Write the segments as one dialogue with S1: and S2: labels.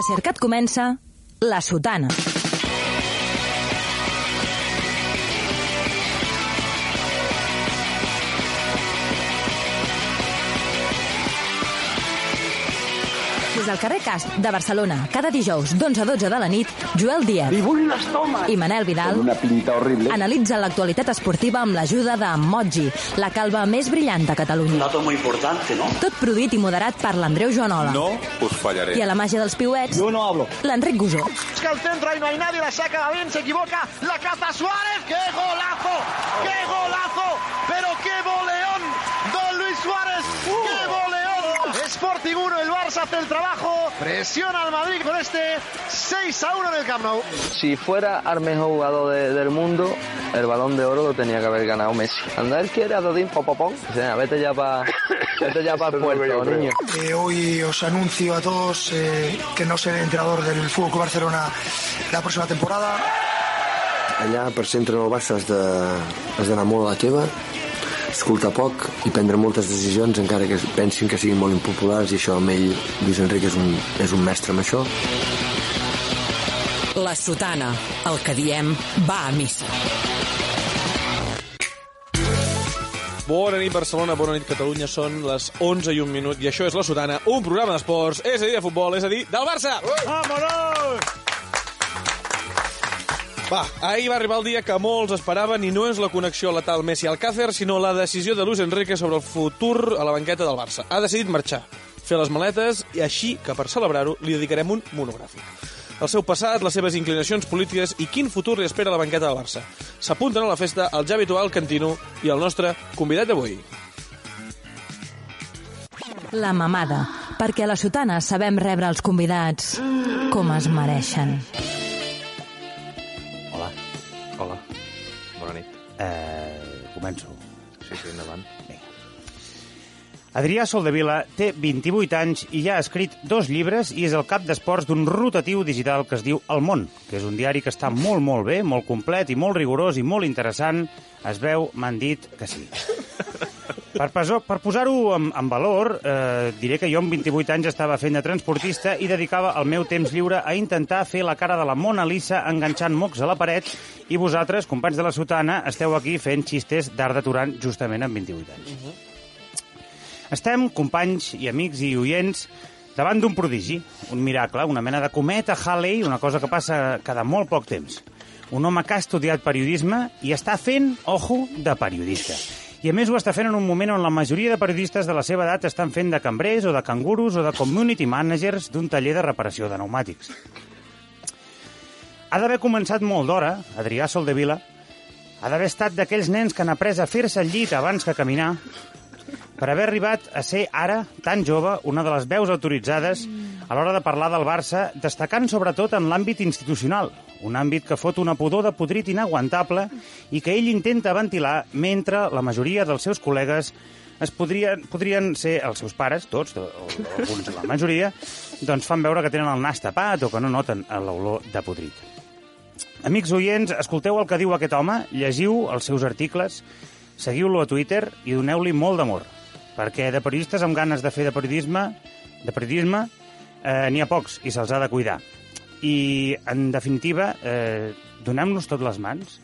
S1: A Cercat comença La Sotana. Des del carrer Casp de Barcelona, cada dijous d'11 a 12 de la nit, Joel Díaz
S2: ¡Y un estomas!
S1: i Manel
S2: Con
S1: Vidal
S2: una pinta horrible.
S1: analitzen l'actualitat esportiva amb l'ajuda de Moji, la calva més brillant de Catalunya.
S3: dato muy importante, ¿no?
S1: Tot produït i moderat per l'Andreu Joanola.
S4: No us fallaré.
S1: I a la màgia dels piuets,
S2: Yo no hablo.
S1: l'Enric Gusó.
S5: busca el centro, ahí no hay nadie, la saca bien, se equivoca, la caza Suárez, ¡qué golazo! ¡Qué golazo! ¡Pero qué boleón! Don Luis Suárez,
S3: Uh.
S5: ¡qué boleón! Sporting 1, el Barça hace el trabajo, presiona al Madrid con este 6 a 1 en el Camp Nou.
S6: Si fuera al mejor jugador de- del mundo, el balón de oro lo tenía que haber ganado Messi. Andar él quiere a Dodín Popopón. Dice, vete ya para el puerto, niño.
S7: Eh, hoy os anuncio a todos eh, que no seré entrenador del Fútbol Club Barcelona la próxima temporada.
S8: Allà, per ser entrenador del Barça, has de- has d'anar molt a la teva, escoltar poc i prendre moltes decisions, encara que pensin que siguin molt impopulars, i això amb ell, Lluís Enric, és un, és un mestre en això.
S9: La sotana, el que diem va a missa.
S10: Bona nit, Barcelona, bona nit, Catalunya. Són les 11 i un minut i això és La Sotana, un programa d'esports, és a dir, de futbol, és a dir, del Barça! Vámonos! Va, ahir va arribar el dia que molts esperaven i no és la connexió letal Messi-Alcácer, sinó la decisió de Luis Enrique sobre el futur a la banqueta del Barça. Ha decidit marxar, fer les maletes i així que per celebrar-ho li dedicarem un monogràfic. El seu passat, les seves inclinacions polítiques i quin futur li espera a la banqueta del Barça. S'apunten a la festa el ja habitual Cantino i el nostre convidat d'avui.
S1: La mamada, perquè a la sotana sabem rebre els convidats com es mereixen.
S3: Hola,
S4: Hola, bona nit.
S3: eh, començo.
S4: Sí, sí, endavant.
S3: Adrià Soldevila té 28 anys i ja ha escrit dos llibres i és el cap d'esports d'un rotatiu digital que es diu El Món, que és un diari que està molt, molt bé, molt complet i molt rigorós i molt interessant. Es veu, m'han dit que sí. Per, pasó- per posar-ho en, en valor, eh, diré que jo amb 28 anys estava fent de transportista i dedicava el meu temps lliure a intentar fer la cara de la Mona Lisa enganxant mocs a la paret i vosaltres, companys de la sotana, esteu aquí fent xistes d'art d'aturant justament amb 28 anys. Estem, companys i amics i oients, davant d'un prodigi, un miracle, una mena de cometa Halley, una cosa que passa cada molt poc temps. Un home que ha estudiat periodisme i està fent, ojo, de periodista. I a més ho està fent en un moment on la majoria de periodistes de la seva edat estan fent de cambrers o de cangurus o de community managers d'un taller de reparació de pneumàtics. Ha d'haver començat molt d'hora, Adrià Soldevila, ha d'haver estat d'aquells nens que han après a fer-se el llit abans que caminar, per haver arribat a ser ara, tan jove, una de les veus autoritzades a l'hora de parlar del Barça, destacant sobretot en l'àmbit institucional, un àmbit que fot una pudor de podrit inaguantable i que ell intenta ventilar mentre la majoria dels seus col·legues es podrien, podrien ser els seus pares, tots, o, o alguns, la majoria, doncs fan veure que tenen el nas tapat o que no noten l'olor de podrit. Amics oients, escolteu el que diu aquest home, llegiu els seus articles, seguiu-lo a Twitter i doneu-li molt d'amor, perquè de periodistes amb ganes de fer de periodisme, de periodisme eh, n'hi ha pocs i se'ls ha de cuidar. I, en definitiva, eh, donem-nos tot les mans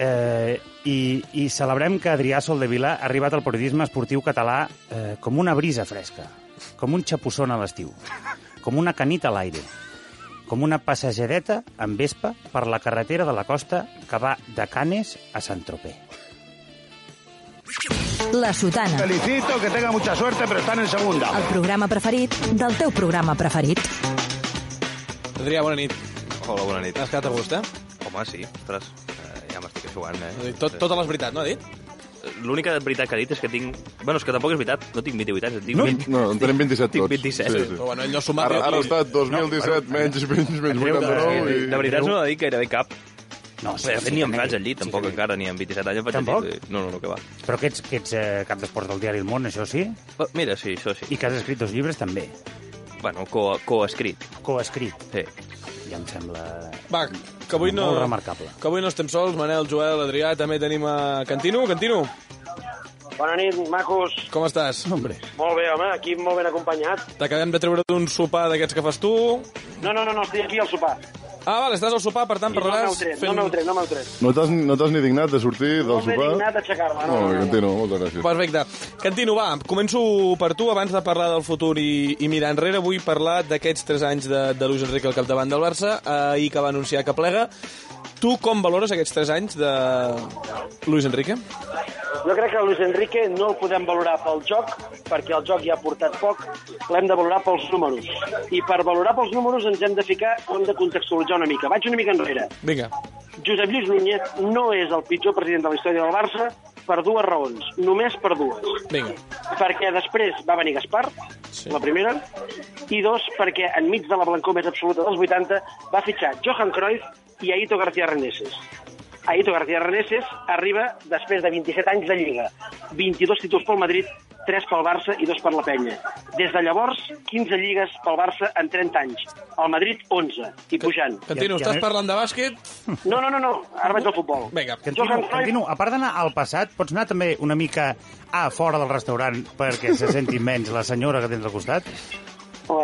S3: eh, i, i celebrem que Adrià Soldevila ha arribat al periodisme esportiu català eh, com una brisa fresca, com un xapusson a l'estiu, com una canita a l'aire com una passejadeta en vespa per la carretera de la costa que va de Canes a Saint-Tropez.
S1: La sotana,
S2: Felicito, que tenga mucha suerte, pero están en segunda.
S1: el programa preferit del teu programa preferit.
S10: Adrià, bona nit.
S4: Hola, bona nit.
S10: Has quedat a gust, eh?
S4: Home, sí, ostres, eh, ja m'estic aixugant, eh?
S10: Has dit Tot, totes les veritats, no ha dit?
S11: L'única veritat que ha dit és que tinc... Bueno, és que tampoc és veritat, no tinc 28 anys, en tinc
S12: No,
S11: 20.
S12: no, en tenim 27
S11: Tinc
S12: tots.
S11: 27.
S12: Sí,
S10: Però
S12: sí.
S10: bueno, ell no ha sumat...
S12: Ara, ara
S10: i-
S12: està 2017, menys, menys, menys
S11: Creu que-
S12: 89.
S11: De
S12: I...
S11: veritat no n'ha dit gairebé cap.
S3: No,
S11: Sí, de fet, ni em faig al llit, tampoc encara, ni amb 27 anys em faig
S3: Tampoc?
S11: al llit. No, no, no, que va.
S3: Però que ets, que ets eh, cap d'esports del diari El Món, això sí,
S11: Però, Mira, sí, això sí.
S3: i que has escrit dos llibres també,
S11: Bueno, co- coescrit.
S3: coescrit,
S11: Sí.
S3: ja em sembla...
S10: Va, que avui no...
S3: Molt remarcable.
S10: Que avui no estem sols, Manel, Joel, Adrià, també tenim a Cantino. Cantino,
S13: Bona nit, macos.
S10: Com estàs? Hombre.
S13: Molt bé, home, aquí molt ben acompanyat.
S10: T'acabem de treure d'un sopar d'aquests que fas tu.
S13: No, no, no, no estic aquí al sopar.
S10: Ah, vale, estàs al sopar, per tant,
S13: I no m'heu
S10: parlaràs...
S13: tret, no m'heu tret, no m'heu tret.
S12: No t'has no t'has ni dignat de sortir del
S13: No m'he
S12: sopar?
S13: dignat d'aixecar-me, no,
S12: Molt bé,
S13: no, no.
S12: Cantino, moltes gràcies.
S10: Perfecte. Cantino, va, començo per tu abans de parlar del futur i, i mirar enrere. Vull parlar d'aquests 3 anys de, de Luis Enrique al capdavant del Barça eh, i que va anunciar que plega. Tu com valores aquests 3 anys de Luis Enrique?
S13: Jo crec que Luis Enrique no el podem valorar pel joc, perquè el joc ja ha portat poc, l'hem de valorar pels números. I per valorar pels números ens hem de ficar, ho hem de contextualitzar una mica. Vaig una mica enrere.
S10: Vinga.
S13: Josep Lluís Núñez no és el pitjor president de la història del Barça per dues raons, només per dues.
S10: Vinga.
S13: Perquè després va venir Gaspar, sí. la primera, i dos, perquè enmig de la blancor més absoluta dels 80 va fitxar Johan Cruyff i Aito García Reneses. Aito García Reneses arriba després de 27 anys de Lliga, 22 títols pel Madrid, 3 pel Barça i 2 per la Penya. Des de llavors, 15 lligues pel Barça en 30 anys. El Madrid, 11, i pujant.
S10: Cantino, estàs parlant de bàsquet?
S13: No, no, no, no. ara vaig al futbol.
S10: Vinga.
S3: Cantino, Cantino, a part d'anar al passat, pots anar també una mica a fora del restaurant perquè se senti menys la senyora que tens al costat?
S13: Uh,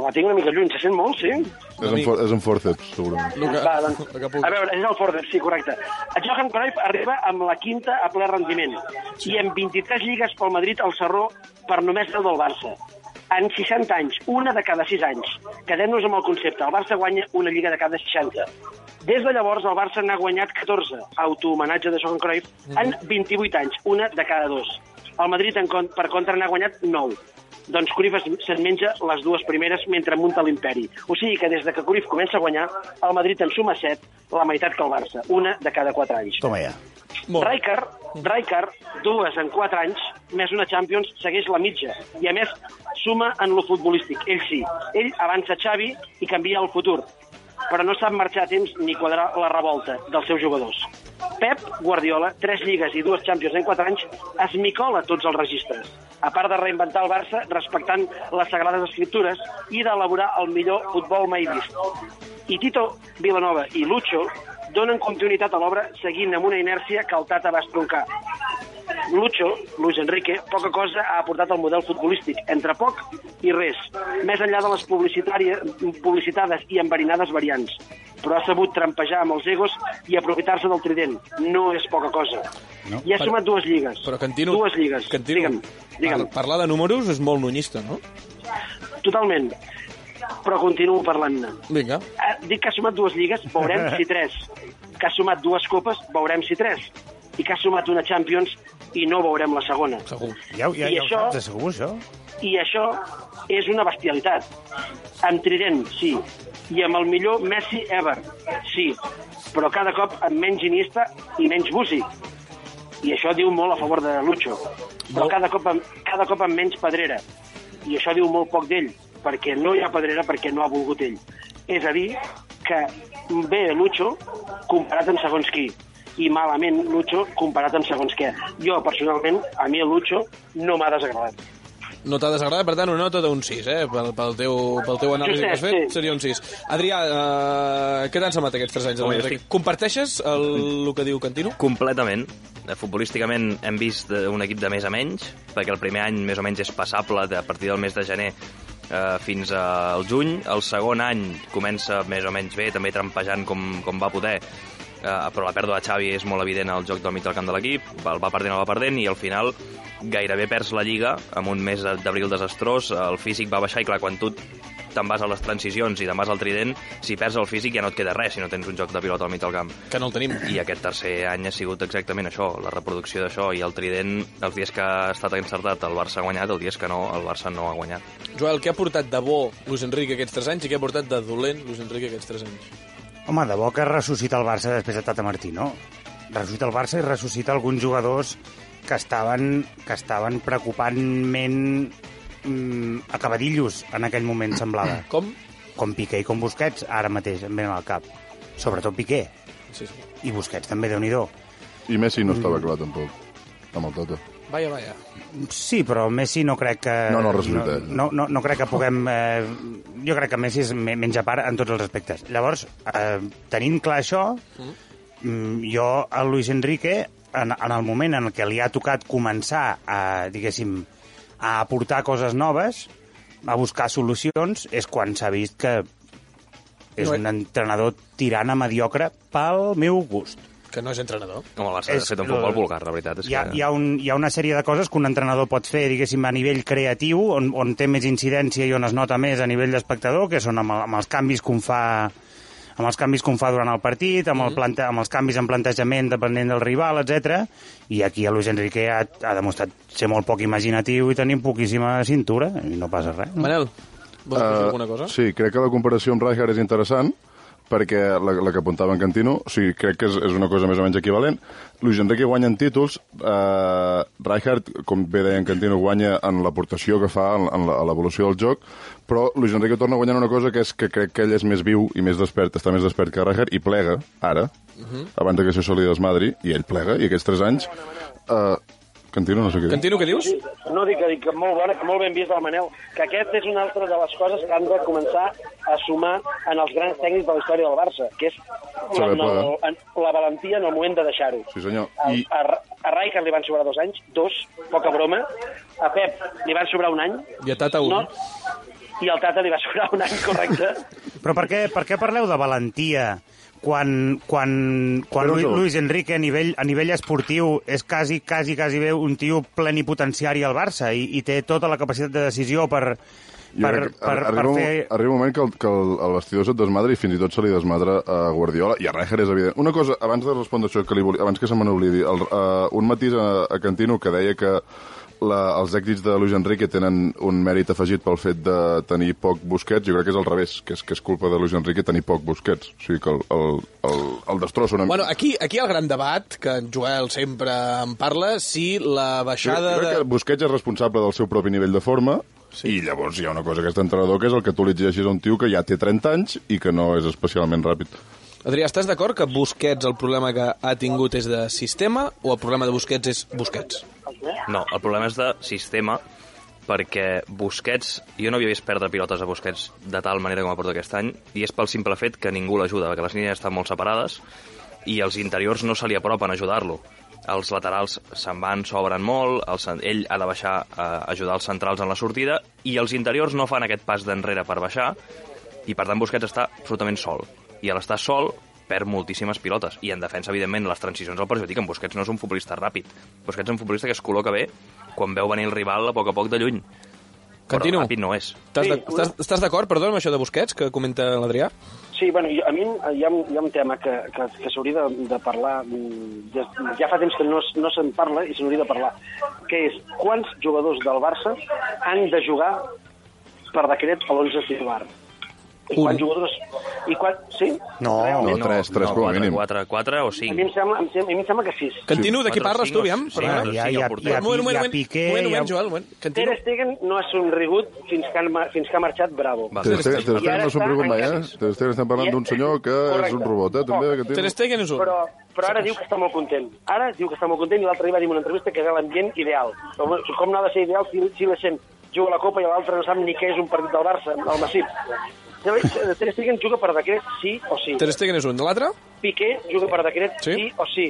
S13: la tinc una mica lluny, se sent molt, sí?
S12: És un, for, és un forceps, segurament.
S13: Va, doncs, a veure, és el Ford, sí, correcte. El Johan Cruyff arriba amb la quinta a ple rendiment i amb 23 lligues pel Madrid al Serró per només 10 del Barça. En 60 anys, una de cada 6 anys. Quedem-nos amb el concepte. El Barça guanya una lliga de cada 60. Des de llavors, el Barça n'ha guanyat 14, autohomenatge de Johan Cruyff, en 28 anys, una de cada dos. El Madrid, en, con- per contra, n'ha guanyat 9. Doncs Cruyff es- se'n menja les dues primeres mentre munta l'imperi. O sigui que des de que Cruyff comença a guanyar, el Madrid en suma 7, la meitat que el Barça, una de cada 4 anys.
S3: Toma ja.
S13: Rijkaard, Rijkaard, dues en 4 anys, més una Champions, segueix la mitja. I a més, suma en lo futbolístic, ell sí. Ell avança Xavi i canvia el futur però no sap marxar a temps ni quadrar la revolta dels seus jugadors. Pep Guardiola, tres lligues i dues Champions en quatre anys, es micola tots els registres, a part de reinventar el Barça respectant les sagrades escriptures i d'elaborar el millor futbol mai vist. I Tito Vilanova i Lucho donen continuïtat a l'obra seguint amb una inèrcia que el Tata va estroncar. Lucho, Luis Enrique, poca cosa ha aportat al model futbolístic, entre poc i res, més enllà de les publicitàries- publicitades i enverinades variants. Però ha sabut trampejar amb els egos i aprofitar-se del trident. No és poca cosa. No, I ha
S10: per-
S13: sumat dues lligues.
S10: Però Cantino...
S13: Dues lligues.
S10: Cantino, digue'm,
S13: digue'm.
S10: Parlar de números és molt nunyista, no?
S13: Totalment. Però continuo parlant-ne.
S10: Vinga.
S13: Eh, Dic que ha sumat dues lligues, veurem si tres. Que ha sumat dues copes, veurem si tres. I que ha sumat una Champions i no veurem la segona.
S10: Segur.
S3: Ja, ja,
S13: I
S3: ja ho
S13: això-
S3: saps, de segur, això?
S13: I això és una bestialitat. Amb Trident, sí. I amb el millor Messi ever, sí. Però cada cop amb menys Iniesta i menys Busi. I això diu molt a favor de Lucho. Però cada cop amb, cada cop amb menys Pedrera. I això diu molt poc d'ell, perquè no hi ha Pedrera perquè no ha volgut ell. És a dir, que bé Lucho comparat amb segons qui i malament Lucho comparat amb segons què. Jo, personalment, a mi el Lucho no m'ha desagradat.
S10: No t'ha desagradat, per tant, una nota d'un 6, eh? Pel, pel, teu, pel teu anàlisi que has
S13: Justet,
S10: fet, seria un 6. Adrià, eh, què t'han semblat aquests 3 anys? de
S11: Home, jo
S10: Enric? Comparteixes el, el que diu Cantino?
S11: Completament. Eh, Futbolísticament hem vist eh, un equip de més a menys, perquè el primer any més o menys és passable de, a partir del mes de gener eh, fins al juny. El segon any comença més o menys bé, també trampejant com, com va poder, eh, però la pèrdua de Xavi és molt evident al joc del mig del camp de l'equip, el va perdent, el va perdent, i al final gairebé perds la Lliga amb un mes de- d'abril desastrós, el físic va baixar i clar, quan tu te'n vas a les transicions i te'n vas al trident, si perds el físic ja no et queda res si no tens un joc de pilota al mig del camp.
S10: Que no el tenim.
S11: I aquest tercer any ha sigut exactament això, la reproducció d'això, i el trident, els dies que ha estat encertat el Barça ha guanyat, els dies que no, el Barça no ha guanyat.
S10: Joel, què ha portat de bo Luis Enrique aquests 3 anys i què ha portat de dolent Luis Enrique aquests 3 anys?
S3: Home, de bo que ressuscita el Barça després de Tata Martino. Ressuscita el Barça i ressuscita alguns jugadors que estaven, que estaven preocupantment mm, acabadillos en aquell moment, semblava.
S10: Com?
S3: Com Piqué i com Busquets, ara mateix em venen al cap. Sobretot Piqué.
S10: Sí, sí.
S3: I Busquets també, déu nhi
S12: I Messi no estava clar, tampoc, amb el Tota. Tata.
S10: Vaja, vaja.
S3: Sí, però Messi no crec que...
S12: No, no, res veritat.
S3: no, no, no crec que puguem... Eh, jo crec que Messi és me- menys a part en tots els aspectes. Llavors, eh, tenint clar això, mm, jo a Luis Enrique en, en el moment en què li ha tocat començar a, diguéssim, a aportar coses noves, a buscar solucions, és quan s'ha vist que és
S10: No, eh?
S3: un entrenador tirant a mediocre pel meu gust.
S10: Que no és entrenador.
S4: Com el Barça,
S3: És
S4: ha fet un
S3: el-
S4: futbol vulgar, la veritat. És
S3: Hi ha,
S4: que...
S3: hi, ha un, hi ha una sèrie de coses que un entrenador pot fer, diguéssim, a nivell creatiu, on, on té més incidència i on es nota més a nivell d'espectador, que són amb, el- amb els canvis que un fa amb els canvis que un fa durant el partit, amb,
S4: Mm-hmm.
S3: el
S14: Mhm.
S3: plante amb els canvis en plantejament depenent del rival, etc. I aquí a Luis Enrique ha, ha demostrat ser molt poc imaginatiu i tenir poquíssima cintura, i no passa res.
S10: Manel,
S12: Eh,
S10: vols afegir alguna cosa?
S12: Sí, crec que la comparació amb Rijkaard és interessant, perquè la, la que apuntava en Cantino, o sigui, crec que és, és una cosa més o menys equivalent. Luis Enrique guanya en títols, eh, Rijkaard, com bé deia en Cantino, guanya en l'aportació que fa, en, en la- a l'evolució del joc, però Luis Enrique torna guanyant una cosa que és que crec que ell és més viu i més despert, està més despert que Rijkaard, i plega, ara,
S10: Mhm.
S12: abans de que això se li desmadri, i ell plega, i aquests tres anys... Eh, Cantino, no sé què dir.
S10: Cantino, què dius?
S13: No, dic, que- dic que molt bona, que molt ben vist del Manel, que aquest és una altra de les coses que han de començar a sumar en els grans tècnics de la història del Barça, que és la,
S12: Saber
S13: en el,
S12: plegar.
S13: en, la valentia en el moment de deixar-ho.
S12: Sí, senyor.
S13: A,
S12: I-
S13: a, Ra- a Rijkaard li van sobrar dos anys, dos, poca broma. A Pep li van sobrar un any.
S10: I a Tata, un.
S13: No, I al Tata li va sobrar un any, correcte.
S3: Però per què, per què parleu de valentia quan, quan, quan
S12: Però
S3: Lu,
S12: no.
S3: Luis Enrique a nivell, a nivell esportiu és quasi, quasi, quasi bé un tio plenipotenciari al Barça i, i té tota la capacitat de decisió per,
S12: Jo
S3: per, per,
S12: crec que
S3: per,
S12: ar- arriba, un-
S3: fer...
S12: arriba un moment que el, que el, el vestidor se't desmadra i fins i tot se li desmadra a Guardiola i a Rijkaard és evident. Una cosa, abans de respondre això, que li volia, abans que se me n'oblidi, el- eh, un matís a, a Cantino que deia que la, els èxits de Luis Enrique tenen un mèrit afegit pel fet de tenir poc Busquets, jo crec que és al revés, que és, que és culpa de Luis Enrique tenir poc Busquets, o sigui que el, el, el, el destrossa una mica.
S10: Bueno, aquí, aquí hi ha el gran debat, que en Joel sempre en parla, si la baixada
S12: Jo crec
S10: de...
S12: que Busquets és responsable del seu propi nivell de forma sí. i llavors hi ha una cosa aquest entrenador que és el que tu li exigeixis a un tio que ja té 30 anys i que no és especialment ràpid.
S10: Adrià, estàs d'acord que Busquets el problema que ha tingut és de sistema o el problema de Busquets és Busquets?
S11: No, el problema és de sistema, perquè Busquets... Jo no havia vist perdre pilotes a Busquets de tal manera com ha portat aquest any, i és pel simple fet que ningú l'ajuda, perquè les línies estan molt separades i els interiors no se li apropen a ajudar-lo. Els laterals se'n van, s'obren molt, el, cen- ell ha de baixar eh, a ajudar els centrals en la sortida, i els interiors no fan aquest pas d'enrere per baixar, i per tant Busquets està absolutament sol. I a l'estar sol perd moltíssimes pilotes. I en defensa, evidentment, les transicions el perjudiquen. Busquets no és un futbolista ràpid. Busquets és un futbolista que es col·loca bé quan veu venir el rival a poc a poc de lluny.
S10: Continu.
S11: Però ràpid no eh? és.
S10: Estàs de- estàs- Estàs d'acord, perdó, amb això de Busquets que comenta l'Adrià?
S13: Sí, bueno, jo- a mi hi ha, un- hi ha un tema que, que, que s'hauria de, de parlar, mm, des, ja fa temps que no, es- no se'n parla i s'hauria de parlar, que és quants jugadors del Barça han de jugar per decret a l'11 titular. I quants jugadors... I quan, sí?
S3: No,
S12: no, tres, tres com a mínim.
S11: 4, 4
S13: A
S11: o 5.
S13: mi em sembla, em sembla, a mi em sembla que sis.
S10: Cantino, de qui parles tu, aviam?
S3: Ah,
S10: Perdona. Un moment, un moment, un moment. Un moment, un moment, Joel, un moment. Cantino.
S13: Ter Stegen no ha somrigut fins que, han, ma- fins que ha marxat Bravo.
S12: Ter Stegen Ter
S13: I
S12: Stegen
S13: ara
S12: no s'ho pregunta
S13: està
S12: mai,
S13: en
S12: eh? Ter Stegen estem parlant d'un senyor que és un robot, eh? També, que té...
S13: Però, però ara diu que està molt content. Ara diu que està molt content i l'altre dia va dir en una entrevista que era l'ambient ideal. Però bé, com no ha de ser ideal si, si la gent juga a la Copa i l'altre no sap ni què és un partit del Barça, el Massip. Llavors, eh, Ter Stegen juga per decret sí o sí.
S10: Ter Stegen és un. L'altre?
S13: Piqué juga per decret sí, sí o sí.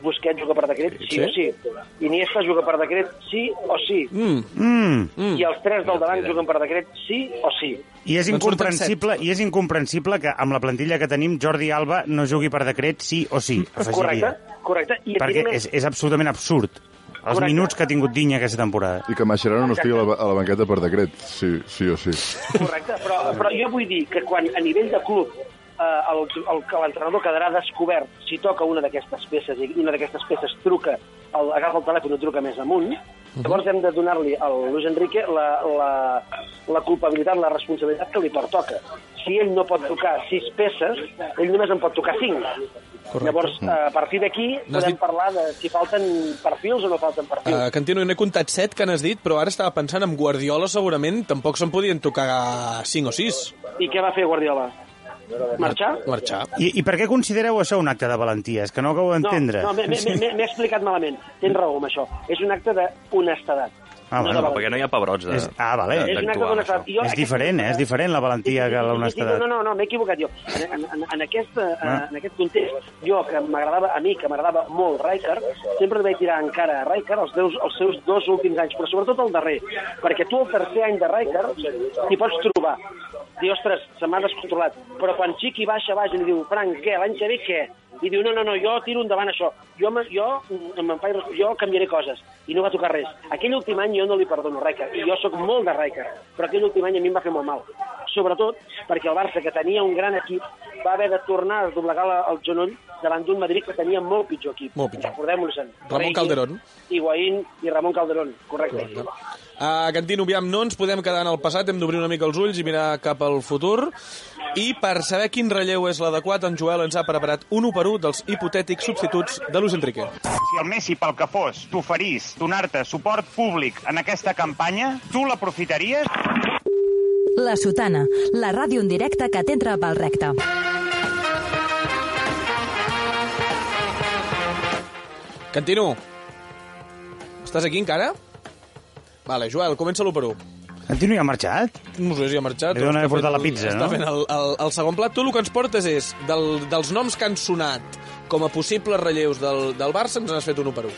S13: Busquets juga per decret sí, sí o sí. Iniesta juga per decret sí o sí.
S10: Mm.
S3: Mm.
S13: I els tres del davant juguen per decret sí o sí.
S3: I és, incomprensible, I és incomprensible que amb la plantilla que tenim Jordi Alba no jugui per decret sí o sí,
S13: Correcte,
S3: afegiria.
S13: correcte. I et
S3: Perquè
S13: diré més.
S3: és, és absolutament absurd els
S13: Correcte.
S3: minuts que ha tingut Dinya aquesta temporada.
S12: I que Mascherano no estigui a la, ba- a la banqueta per decret, sí, sí o sí.
S13: Correcte, però, però jo vull dir que quan a nivell de club eh, el- el- que l'entrenador quedarà descobert si toca una d'aquestes peces i una d'aquestes peces truca, el, agafa el telèfon i truca més amunt, llavors hem de donar-li al Luis Enrique la, la, la culpabilitat, la responsabilitat que li pertoca. Si ell no pot tocar sis peces, ell només en pot tocar cinc. Correcte. Llavors, eh, a partir d'aquí,
S10: N'has
S13: podem parlar de si falten perfils o no falten perfils.
S10: Uh, Cantino, n'he comptat 7 que n'has dit, però ara estava pensant amb Guardiola segurament tampoc se'n podien tocar 5 o 6.
S13: I què va fer Guardiola? Marxar?
S10: Marxar.
S3: I, I per què considereu això un acte de valentia? És que no ho acabo d'entendre.
S13: No, no m'he- m'he m'he- m'he explicat malament. Tens raó amb això. És un acte d'honestedat.
S3: Ah,
S11: no,
S3: bueno.
S11: no, perquè no hi ha pebrots de,
S3: És, ah, vale.
S11: de-
S13: És una
S11: d'actuar
S13: cosa
S11: amb
S13: que
S11: això.
S13: jo-
S3: És diferent, eh? És diferent la valentia que
S13: No,
S3: l'honestedat.
S13: no, no, m'he equivocat jo. En, en, en, aquesta,
S3: Ah.
S13: en aquest context, jo, que m'agradava a mi, que m'agradava molt Riker, sempre li vaig tirar en cara a Riker els, deus, els seus dos últims anys, però sobretot el darrer, perquè tu el tercer any de Riker t'hi pots trobar. Diu, ostres, se m'ha descontrolat. Però quan Chiqui baixa baix i li diu, Frank, què, l'any que ve què? I diu, no, no, no, jo tiro endavant això. Jo, me- jo, mm, me'n faig, res- jo canviaré coses. I no va tocar res. Aquell últim any jo no li perdono Riker. I jo sóc molt de Riker. Però aquell últim any a mi em va fer molt mal. Sobretot perquè el Barça, que tenia un gran equip, va haver de tornar a doblegar la, el genoll davant d'un Madrid que tenia molt pitjor equip.
S10: Molt pitjor.
S13: Recordem-ho-sen.
S10: Ramon Calderón.
S13: Higuaín i Ramon Calderón, correcte. correcte.
S10: A Cantino, aviam, no ens podem quedar en el passat, hem d'obrir una mica els ulls i mirar cap al futur. I per saber quin relleu és l'adequat, en Joel ens ha preparat un 1 per 1 dels hipotètics substituts de Luis Enrique.
S14: Si el Messi, pel que fos, t'oferís donar-te suport públic en aquesta campanya, tu l'aprofitaries?
S1: La Sotana, la ràdio en directe que t'entra pel recte.
S10: Cantino, estàs aquí encara? Vale, Joel, comença l'1 per 1.
S3: Cantino ja ha marxat?
S10: No sé si ha marxat.
S3: Li deuen
S10: o
S3: haver
S10: està
S3: portat
S10: fent-
S3: la pizza,
S10: està
S3: no?
S10: Fent el, el, el segon plat. Tu el que ens portes és, del, dels noms que han sonat com a possibles relleus del, del Barça, ens n'has fet un 1 per 1.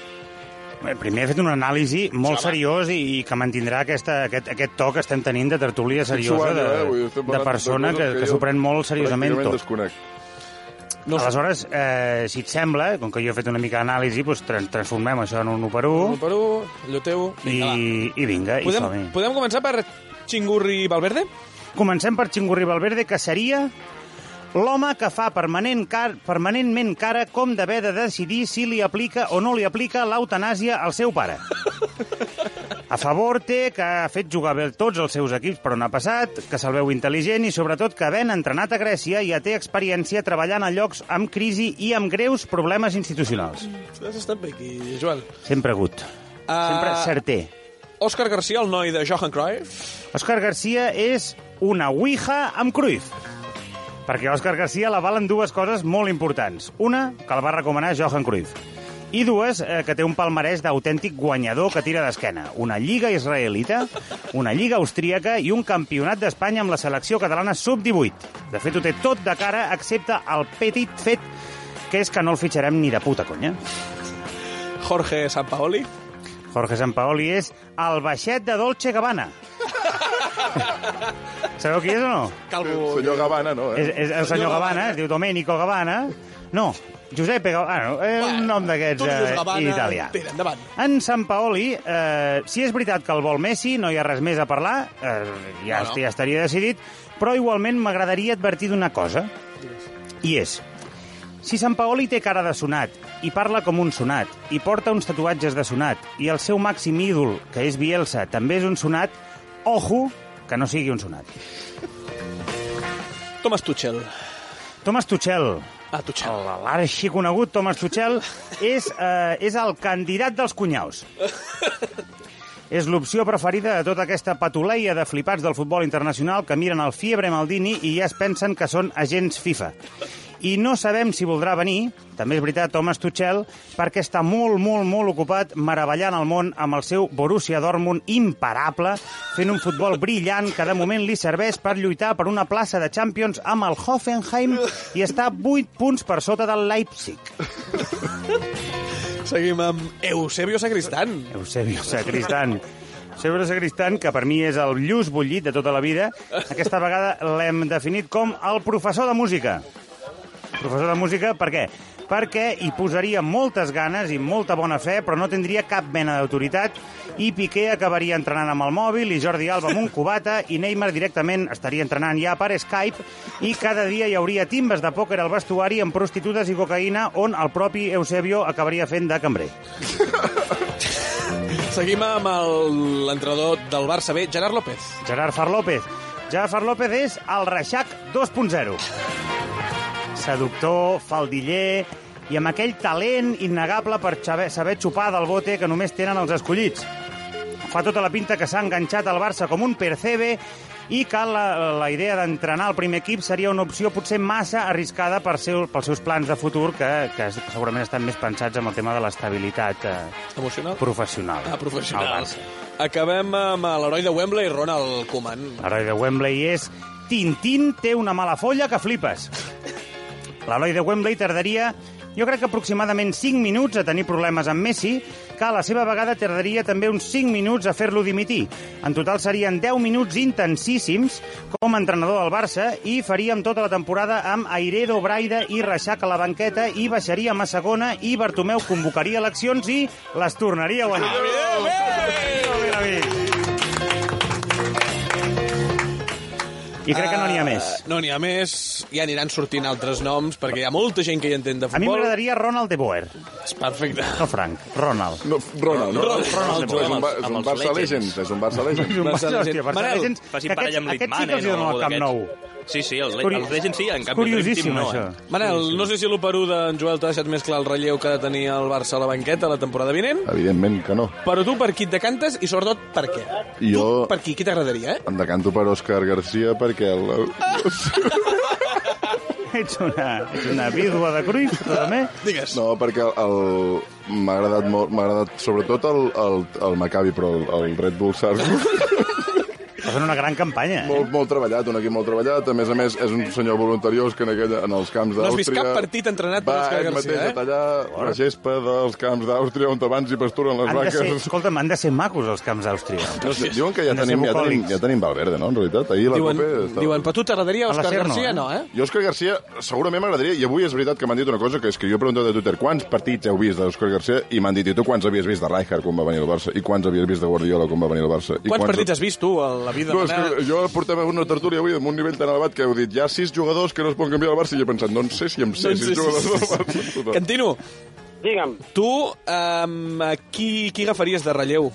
S3: Bé, Eh, Primer he fet una anàlisi
S10: Sí,
S3: molt
S10: home.
S3: seriós i, i que mantindrà aquesta, aquest, aquest to que estem tenint de tertúlia seriosa,
S12: suant,
S3: de,
S12: eh? Vull dir, estem
S3: de
S12: parlant de
S3: persona
S12: coses
S3: que,
S12: que
S3: que
S12: jo
S3: s'ho pren molt seriosament
S12: pràcticament
S3: tot.
S12: desconec.
S3: No Aleshores, eh, si et sembla, com que jo he fet una mica d'anàlisi, doncs tra- transformem això en un 1 per 1
S10: 1 per 1, allò teu...
S3: i, i vinga, i
S10: Podem,
S3: som-hi.
S10: podem començar per Chingurri Valverde?
S3: Comencem per Chingurri Valverde, que seria l'home que fa permanent car permanentment cara com d'haver de decidir si li aplica o no li aplica l'eutanàsia al seu pare. A favor té que ha fet jugar bé tots els seus equips per on ha passat, que se'l veu intel·ligent i sobretot que ben entrenat a Grècia ja té experiència treballant a llocs amb crisi i amb greus problemes institucionals.
S10: Has estat bé aquí, Joel.
S3: Sempre agut. Sempre certer.
S10: Òscar Garcia, el noi de Johan Cruyff.
S3: Òscar Garcia és una ouija amb Cruyff. Perquè a Òscar Garcia la valen dues coses molt importants. Una, que el va recomanar Johan Cruyff. I dues, eh, que té un palmarès d'autèntic guanyador que tira d'esquena. Una lliga israelita, una lliga austríaca i un campionat d'Espanya amb la selecció catalana sub-18. De fet, ho té tot de cara, excepte el petit fet que és que no el fitxarem ni de puta conya.
S10: Jorge Sampaoli.
S3: Jorge Sampaoli és el baixet de Dolce Gabbana. Sabeu qui és o no?
S10: Calvo.
S12: Senyor Gavana, no, eh?
S3: És, és el senyor Gavana, es diu Domenico Gavana. No, Giuseppe Gavana, ah, no, eh, un nom d'aquests
S10: Tu li dius
S3: eh,
S10: Gavana,
S3: italià.
S10: Tira, endavant.
S3: En Sant Paoli, eh, si és veritat que el vol Messi, no hi ha res més a parlar, eh, ja,
S10: No, no.
S3: no, ja estaria decidit, però igualment m'agradaria advertir d'una cosa, i és... Si Sant Paoli té cara de sonat, i parla com un sonat, i porta uns tatuatges de sonat, i el seu màxim ídol, que és Bielsa, també és un sonat, ojo que no sigui un sonat.
S10: Thomas Tuchel.
S3: Thomas Tuchel,
S10: Ah, Tuchel.
S3: l'arxiconegut Thomas Tuchel, és, eh, és el candidat dels cunyaus. És l'opció preferida de tota aquesta patuleia de flipats del futbol internacional que miren el Fiebre Maldini i ja es pensen que són agents FIFA. I no sabem si voldrà venir, també és veritat, Thomas Tuchel, perquè està molt, molt, molt ocupat meravellant el món amb el seu Borussia Dortmund imparable, fent un futbol brillant que de moment li serveix per lluitar per una plaça de Champions amb el Hoffenheim i està 8 punts per sota del Leipzig.
S10: Seguim amb Eusebio Sacristán.
S3: Oh. Eusebio Sacristán. Eusebio Sacristán, que per mi és el lluç bullit de tota la vida, aquesta vegada l'hem definit com el professor de música. Professor de música, per què? Perquè hi posaria moltes ganes i molta bona fe, però no tindria cap mena d'autoritat, i Piqué acabaria entrenant amb el mòbil, i Jordi Alba amb un cubata, i Neymar directament estaria entrenant ja per Skype, i cada dia hi hauria timbes de pòquer al vestuari amb prostitutes i cocaïna, on el propi Eusebio acabaria fent de cambrer.
S10: Seguim amb el- l'entrenador del Barça B, Gerard López.
S3: Gerard Far López. Gerard Far López és el Reixac 2.0. Seductor, faldiller i amb aquell talent innegable per saber, saber xupar del bote que només tenen els escollits. Fa tota la pinta que s'ha enganxat al Barça com un percebe i que la, la idea d'entrenar el primer equip seria una opció potser massa arriscada per seu, pels seus plans de futur que, que segurament estan més pensats amb el tema de l'estabilitat eh,
S10: Emocional?
S3: professional.
S10: Ah,
S3: Al
S10: professional.
S3: Barça.
S10: Acabem amb l'heroi de Wembley, Ronald Koeman.
S3: L'heroi de Wembley és Tintín té una mala folla que flipes. L'heroi de Wembley tardaria jo crec que aproximadament 5 minuts a tenir problemes amb Messi, que a la seva vegada tardaria també uns 5 minuts a fer-lo dimitir. En total serien 10 minuts intensíssims com a entrenador del Barça i faríem tota la temporada amb Airedo Braida i Reixac a la banqueta i baixaríem a segona i Bartomeu convocaria eleccions i les tornaria a guanyar. Molt bé, David. I crec que no n'hi ha més.
S10: Uh, no n'hi ha més, ja aniran sortint altres noms, perquè hi ha molta gent que hi entén de
S3: A mi
S10: futbol.
S3: m'agradaria Ronald de Boer.
S10: És perfecte.
S3: No Frank, Ronald.
S12: No, Ronald, no?
S10: Ronald,
S3: Ronald
S12: és un,
S3: Joel.
S12: Ba- és un
S3: Amb els
S12: Barça
S3: Legends.
S12: Legend, és un Barça Legend.
S3: És un Barça, hòstia, Barça
S12: Manel,
S3: Legends,
S11: faci
S3: que
S11: parella amb
S3: aquests- aquests sí
S11: Litmanen
S3: que els hi
S11: o
S3: donen el
S11: algú
S3: Camp Nou.
S11: d'aquests. Sí, sí, el,
S3: És curi-
S11: els Legends sí, en
S3: és
S11: canvi el Dream Team
S3: curiosíssim,
S11: no. eh?
S3: això.
S10: Manel, no sé si l'1 d'en Joel t'ha deixat més clar el relleu que ha de tenir el Barça a la banqueta la temporada vinent,
S12: Evidentment que no.
S10: però tu per qui et decantes i sobretot per què?
S12: I jo
S10: Per qui? Qui t'agradaria, eh?
S12: em decanto per Òscar Garcia perquè el...
S3: Ets una, ets una vídua de Cruyff, tu també?
S10: Digues.
S12: No, perquè el- el- m'ha agradat molt, m'ha agradat sobretot el, el, el Maccabi, però el, el Red Bull Sarko.
S3: Fa una gran campanya. eh?
S12: Molt, molt treballat, un equip molt treballat. A més a més, és un senyor voluntariós que en, aquella, en els camps
S10: No
S12: d'Àustria...
S10: has vist cap partit entrenat per
S12: va
S10: Òscar
S12: ell mateix
S10: Garcia,
S12: a
S10: eh?
S12: tallar la gespa dels camps d'Àustria on abans hi pasturen les
S3: Han de
S12: vaques.
S3: ser, escolta'm, han de ser macos els camps d'Àustria.
S12: Diuen que ja
S3: Han
S12: tenim, ja,
S3: de ser
S12: tenim,
S3: bucòlics.
S12: ja tenim Valverde, no?, en realitat. Ahir la
S10: Diuen,
S12: Copa... estava-
S10: diuen per tu t'agradaria
S12: A la
S10: Òscar
S12: SER no,
S10: Garcia,
S12: eh?
S10: no, eh?
S12: Jo, Òscar Garcia, segurament m'agradaria, i avui és veritat que m'han dit una cosa, que és que jo he preguntat a Twitter quants partits heu vist d'Òscar Garcia, i m'han dit, i tu quants havies vist de Rijkaard quan va venir al Barça, i quants havies vist de Guardiola quan va venir al Barça, i
S10: Quants partits has vist tu a la vida?
S12: No, és
S10: Manel?
S12: que jo portava una tertúlia avui amb un nivell tan elevat que heu dit hi ha sis jugadors que no es poden canviar al Barça i jo he pensat, no en sé si em sé
S10: No en
S12: sis
S10: sé si-
S12: jugadors del
S10: sí.
S12: Barça.
S10: Cantino.
S13: Digue'm.
S10: Tu, um, qui, qui agafaries de relleu?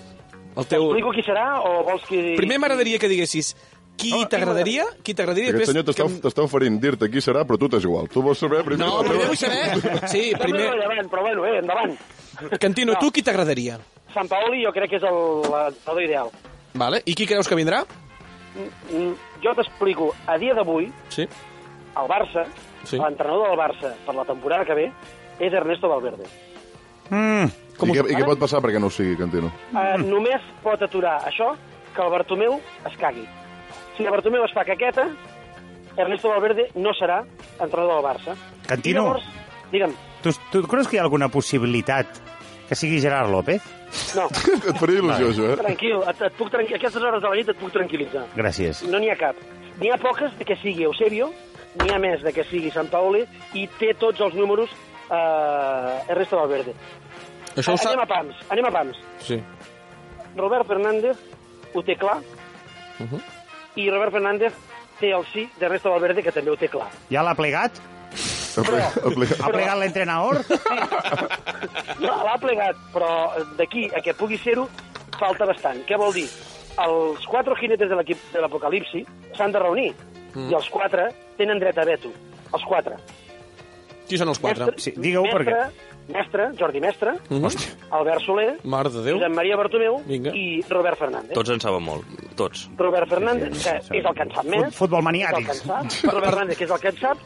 S10: El teu...
S13: Explico qui serà o vols que...
S10: Primer m'agradaria que diguessis qui t'agradaria, qui t'agradaria...
S12: Aquest senyor t'està
S10: que...
S12: t'està oferint dir-te qui serà, però tu t'és igual. Tu vols saber primer...
S10: No, primer vull saber... Sí,
S13: Sembla
S10: primer...
S13: rellevant, però bueno, eh, endavant.
S10: Cantino,
S13: No.
S10: tu qui t'agradaria?
S13: Sant Paoli jo crec que és el l'entrenador ideal.
S10: Vale. I qui creus que vindrà?
S13: Mm, Jo t'explico, a dia d'avui,
S10: Sí.
S13: el Barça,
S10: Sí.
S13: l'entrenador del Barça per la temporada que ve, és Ernesto Valverde.
S3: Mm.
S12: I, què, I què pot passar perquè no ho sigui, Cantino?
S13: Uh, només pot aturar això que el Bartomeu es cagui. Si el Bartomeu es fa caqueta, Ernesto Valverde no serà entrenador del Barça. I
S3: Cantino,
S13: llavors, digue'm,
S3: tu, tu creus que hi ha alguna possibilitat que sigui Gerard López?
S13: no,
S12: Et faria il·lusió, això, eh?
S13: tranquil, et, et puc tranqui... aquestes hores de la nit et puc tranquil·litzar.
S3: Gràcies.
S13: No n'hi ha cap. N'hi ha poques de que sigui Eusebio, n'hi ha més de que sigui Sant Paoli, i té tots els números eh, Ernesto Valverde.
S10: Això ho
S13: Ah, anem
S10: sap...
S13: a pams, anem a pams.
S10: Sí.
S13: Robert Fernández ho té clar,
S10: Uh -huh.
S13: i Robert Fernández té el sí d'Ernesto Valverde, que també ho té clar.
S3: Ja l'ha plegat? Ha plegat l'entrenador?
S13: No, L'ha plegat, però d'aquí a que pugui ser-ho, falta bastant. Què vol dir? Els quatre jinetes de l'equip de l'Apocalipsi s'han de reunir,
S10: Mm.
S13: i els quatre tenen dret a veto. Els quatre.
S10: Qui són els quatre?
S3: Sí, digue-ho
S13: Mestre, Mestre, Jordi Mestre,
S10: Mm -hmm.
S13: Albert Soler,
S10: Mare de Déu.
S13: Josep Maria Bartomeu
S10: Vinga.
S13: i Robert Fernández.
S11: Tots en saben molt, tots.
S13: Robert Fernández, que és el que en sap més.
S11: Fut- futbol maniàtics.
S13: és el que en sap. Robert Fernández, que és el que en sap,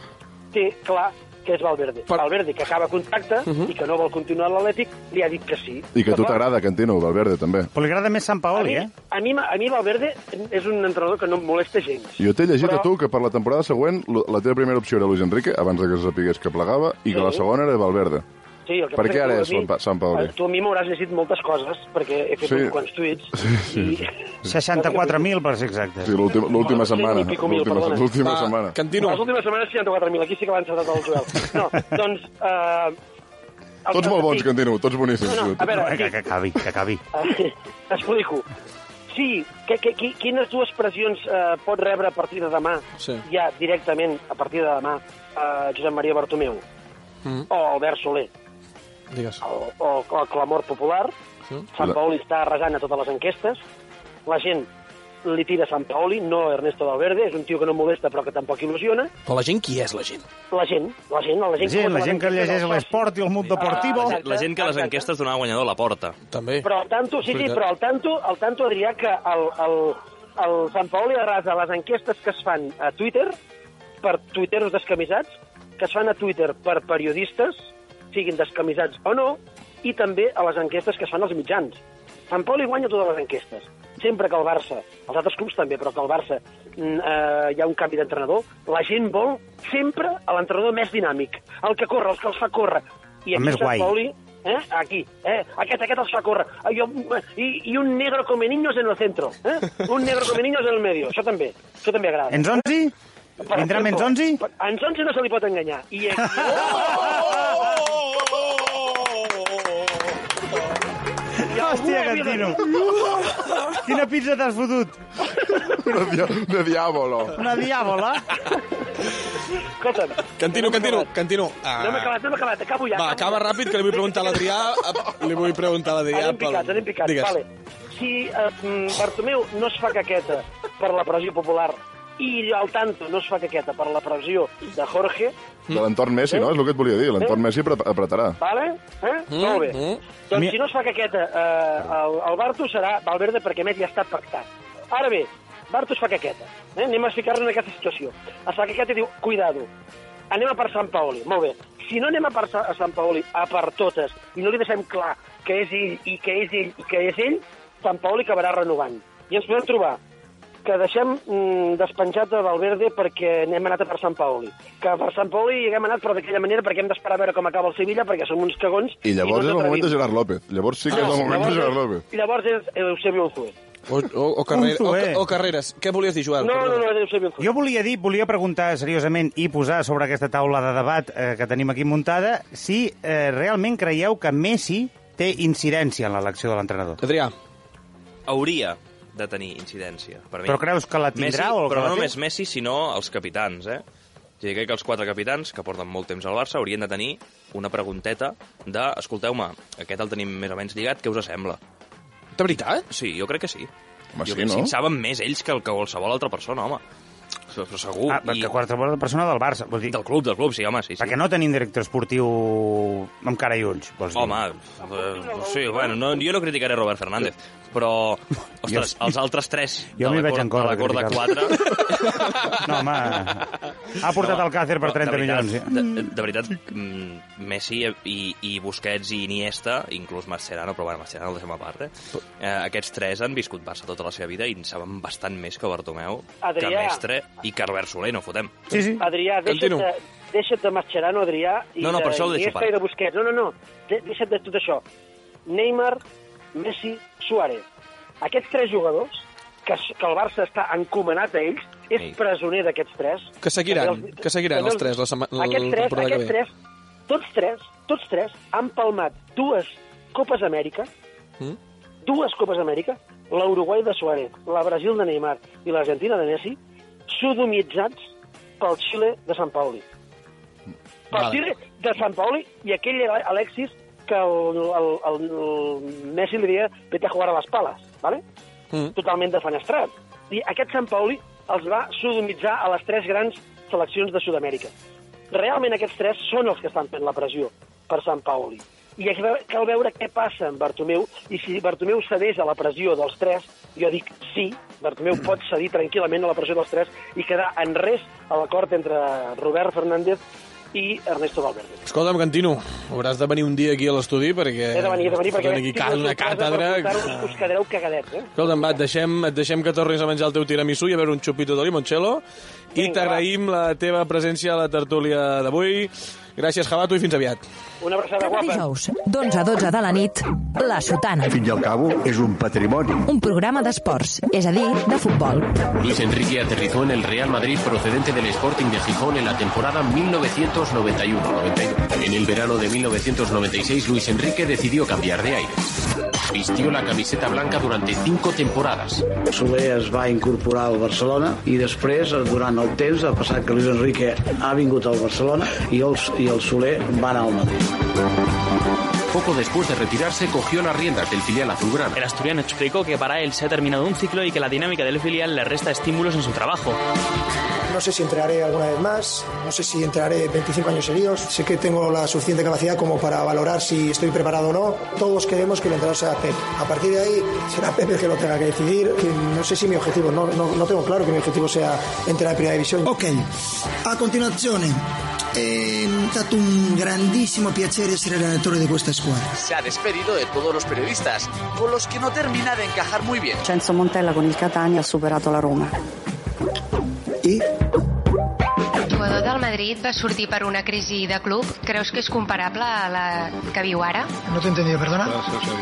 S13: té clar que és Valverde. Valverde, que acaba contracte i que no vol continuar a l'Atlètic, li ha dit que sí.
S12: Mhm. I que a tu
S13: D'acord?
S12: t'agrada, Cantino, Valverde, també.
S3: Però li agrada més Sant Paoli, eh?
S13: A mi, a mi Valverde és un entrenador que no em molesta gens.
S12: Jo t'he llegit
S13: Però-
S12: a tu que per la temporada següent lo- la teva primera opció era Luis Enrique, abans de que se sapigués que plegava, i que la
S13: Sí.
S12: segona era Valverde.
S13: Sí, el que
S12: Per
S13: passa
S12: què ara
S13: tu a
S12: és
S13: mi-
S12: Sant Pa- Sant Paoli?
S13: Tu a mi m'hauràs llegit moltes coses, perquè he fet
S12: Sí.
S13: sí. uns quants tuits. Sí, sí.
S3: 64.000, per ser exactes.
S12: Sí, l'última- l'última setmana.
S13: pico mil,
S12: L'última
S13: perdona.
S12: l'última
S13: Va,
S12: setmana.
S13: Les últimes setmanes 64.000, aquí sí que l'ha encertat el Joel. No, doncs... Eh, el
S12: Tots molt bons,
S13: que
S12: Cantino, tots boníssims.
S13: No, no, a veure,
S3: Que, que acabi, que acabi.
S13: Eh, T'explico. Sí, que, que, qui- quines dues pressions eh, pot rebre a partir de demà,
S10: Sí.
S13: ja directament a partir de demà, eh, Josep Maria Bartomeu
S10: Mm.
S13: o Albert Soler,
S10: Digues.
S13: o, o, el clamor popular.
S10: Sí.
S13: Sant Paoli està arrasant a totes les enquestes. La gent li tira a Sant Paoli, no a Ernesto Valverde, és un tio que no molesta però que tampoc il·lusiona.
S10: Però la gent qui és, la gent?
S13: La gent, la gent, la
S3: La
S13: gent,
S3: gent,
S13: vota
S3: la gent que
S13: enquestes
S3: llegeix
S13: dels socis.
S3: l'esport i el mut deportivo...
S13: Ah, exacte.
S11: La gent que a les enquestes donava guanyador a la porta.
S10: També.
S13: Però al tanto, sí, sí,
S11: Veritat.
S13: però al tanto, al tanto Adrià, que el, el, el Sant Paoli arrasa les enquestes que es fan a Twitter per tuiteros descamisats, que es fan a Twitter per periodistes, siguin descamisats o no, i també a les enquestes que es fan als mitjans. Sant Pauli guanya totes les enquestes. Sempre que el Barça, els altres clubs també, però que el Barça mm, eh, hi ha un canvi d'entrenador, la gent vol sempre a l'entrenador més dinàmic, el que corre, els que els fa córrer. I
S3: El
S13: aquí
S3: més
S13: Sant
S3: guai.
S13: Pauli, eh, aquí, eh, aquest, aquest els fa córrer. Ah, Jo, i, I un negro come niños en el centro, eh? un negro come niños en el medio, això també, això també agrada.
S3: En Zonzi? Vindrà amb en Zonzi?
S13: A en Zonzi no se li pot enganyar. I aquí...
S10: Oh, oh,
S3: Hòstia, Cantino. Quina pizza t'has fotut?
S12: Una dia, de diàbolo.
S3: Una diàbola?
S13: Escolta'm,
S10: Cantino, Cantino, Cantino. Ah.
S13: no m'he acabat, no m'he acabat, acabo ja.
S10: Va, acaba ràpid, que li vull preguntar a l'Adrià... eh, Li vull preguntar a l'Adrià...
S13: Anem picats, anem picats.
S10: Digues.
S13: Vale. Si eh, mm, Bartomeu no es fa caqueta per la pressió popular i el Tanto no es fa caqueta per la pressió de Jorge,
S12: De l'entorn Messi, no? És el que et volia dir.
S13: Eh?
S12: L'entorn Messi apre- apretarà.
S13: vale? Eh? Mm, Molt bé. Mm. Doncs si no es fa caqueta, eh, el, el Barto serà Valverde perquè a més ja està pactat. Ara bé, Barto es fa caqueta. Eh? Anem a ficar-nos en aquesta situació. Es fa caqueta i diu, cuidado, anem a per Sant Paoli. Molt bé. Si no anem a per Sa- a Sant Paoli, a per totes, i no li deixem clar que és ell, i que és ell, i que és ell, Sant Paoli acabarà renovant. I ens podem trobar que deixem mm, despenjat de Valverde perquè n'hem anat a per Sant Paoli. Que per Sant Paoli hi haguem anat, però d'aquella manera, perquè hem d'esperar a veure com acaba el Sevilla, perquè som uns cagons...
S12: I llavors
S13: no
S12: és
S13: ens
S12: el moment de
S13: atrevim.
S12: Gerard López. Llavors sí que és
S13: Ah,
S12: el moment de eh?
S13: llavors
S12: Gerard
S13: és-
S12: López.
S13: Llavors és Eusebio Unzué.
S10: O, o, o, Carrera, o,
S3: suer.
S10: o Carreras. Què volies dir, Joel?
S13: No, no, no, és Eusebio Unzué.
S3: Jo volia dir, volia preguntar seriosament i posar sobre aquesta taula de debat eh, que tenim aquí muntada si eh, realment creieu que Messi té incidència en l'elecció de l'entrenador.
S10: Adrià.
S11: Hauria de tenir incidència, per mi.
S3: Però creus que la tindrà
S11: Messi,
S3: o que
S11: Però
S3: la
S11: no
S3: té?
S11: només Messi, sinó els capitans, eh? O sigui, crec que els quatre capitans, que porten molt temps al Barça, haurien de tenir una pregunteta de, escolteu-me, aquest el tenim més o menys lligat, què us sembla?
S10: De veritat?
S11: Sí, jo crec que sí.
S12: Home,
S11: jo
S12: sí,
S11: crec que
S12: no?
S11: sí, en saben més ells que el que qualsevol altra persona, home. Però però segur.
S3: Ah, perquè qualsevol persona del Barça, vols dir?
S11: Del club, del club, sí, home, sí, sí.
S3: Perquè no tenim director esportiu amb cara i ulls, vols dir?
S11: Home, eh, sí, bueno, no, jo no criticaré Robert Fernández, però, ostres, els altres tres
S3: Jo
S11: de
S3: m'hi
S11: la
S3: veig
S11: cor-
S3: en cor,
S11: de la cor de
S3: criticar-lo.
S11: quatre...
S3: No, home, ha portat el Càcer per
S11: però,
S3: 30
S11: de veritat,
S3: milions. eh?
S11: De, de veritat, mm, Messi i, i Busquets i Iniesta, inclús Marcerano, però bueno, Marcerano el deixem a part, eh? eh aquests tres han viscut Barça tota la seva vida i en saben bastant més que Bartomeu,
S13: Adrià.
S11: que Mestre i que Herbert Soler, no fotem.
S3: Sí, sí.
S13: Adrià, deixa't
S11: Continua.
S13: de, deixa't de Mascherano, Adrià, i
S11: No, no,
S13: de,
S11: per això ho deixo
S13: Iniesta
S11: part.
S13: i de Busquets. No, no, no, de, deixa't de tot això. Neymar, Messi, Suárez. Aquests tres jugadors, que, s- que el Barça està encomanat a ells, és presoner d'aquests tres.
S10: Que seguiran,
S13: També els-
S10: que seguiran
S13: també
S10: els tres la sema- la
S13: Aquests tres,
S10: temporada que
S13: aquests
S10: ve.
S13: tres, tots tres, tots tres han palmat dues Copes Amèrica,
S10: Mm?
S13: dues Copes Amèrica, la Uruguai de Suárez, la Brasil de Neymar i l'Argentina de Messi, sodomitzats pel Xile de Sant Pauli. Pel
S10: Vale.
S13: Xile de Sant Pauli i aquell Ale- Alexis que el, el, el, el Messi li deia vete a jugar a les pales, ¿vale?
S10: Mm.
S13: totalment defenestrat. I aquest Sant Pauli els va sodomitzar a les tres grans seleccions de Sud-amèrica. Realment aquests tres són els que estan fent la pressió per Sant Pauli. I aquí ve- cal veure què passa amb Bartomeu, i si Bartomeu cedeix a la pressió dels tres, jo dic sí, Bartomeu pot cedir tranquil·lament a la pressió dels tres i quedar en res a l'acord entre Robert Fernández i Ernesto Valverde.
S10: Escolta'm, Cantino, hauràs de venir un dia aquí a l'estudi perquè...
S13: He de venir, he de venir, perquè...
S10: Aquí cal una
S13: tinc sorpresa per
S10: càtedra...
S13: portar-vos, Us quedareu cagadets, eh?
S10: Escolta'm, va, et deixem, et deixem que tornis a menjar el teu tiramisú i a veure un xupito de limoncello. I t'agraïm la teva presència a la tertúlia d'avui. Gràcies, Jabato, i fins aviat.
S13: Una abraçada
S1: Cada dijous, d'11 a 12 de la nit, La Sotana.
S15: Fins al cabo, és un patrimoni.
S1: Un programa d'esports, és a dir, de futbol.
S16: Luis Enrique aterrizó en el Real Madrid procedente del Sporting de Gijón en la temporada 1991-92. En el verano de 1996, Luis Enrique decidió cambiar de aire. Vistió la camiseta blanca durante cinco temporadas.
S15: Soler es va incorporar al Barcelona i després, durant el temps, ha passat que Luis Enrique ha vingut al Barcelona i el, i el Soler va anar al Madrid.
S16: Poco después de retirarse, cogió las riendas del filial azulgrana.
S17: El asturiano explicó que para él se ha terminado un ciclo y que la dinámica del filial le resta estímulos en su trabajo.
S7: No sé si entraré alguna vez más, no sé si entraré 25 años seguidos, sé que tengo la suficiente capacidad como para valorar si estoy preparado o no. Todos queremos que el entrenador sea Pep. A partir de ahí será Pep el que lo tenga que decidir. Que no sé si mi objetivo, no, no, no tengo claro que mi objetivo sea entrar en primera división.
S18: Ok, a continuazione è stato un grandissimo piacere essere allenatore di questa squadra.
S19: Se ha despedido de todos los periodistas, con los que no termina de encajar muy bien.
S20: Cenzo Montella con il Catania ha superato la Roma.
S21: Jugador del Madrid va sortir per una crisi de club. Creus que és comparable a la que viu ara?
S7: No te he entendido, perdona.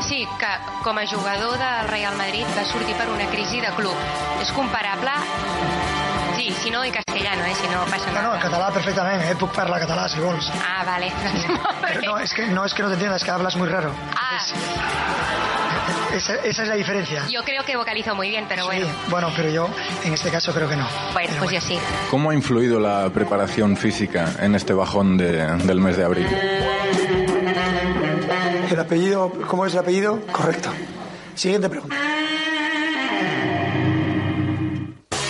S21: Sí, que com a jugador del Real Madrid va sortir per una crisi de club. És comparable... Sí, si no, en castellano, eh? Si no, passa
S7: No,
S21: nada.
S7: no, el català perfectament, eh? Puc parlar català, si vols.
S21: Ah, vale.
S7: Pero no, es que no, es que no te entiendas, es que hablas muy raro.
S21: Ah,
S7: Esa, esa es la diferencia.
S21: yo creo que vocalizo muy bien, pero bueno.
S7: Bueno, pero yo en este caso creo que no.
S21: Bueno, pues yo sí.
S22: ¿Cómo ha influido la preparación física en este bajón de- del mes de abril?
S7: El apellido, ¿cómo es el apellido? Correcto. Siguiente pregunta.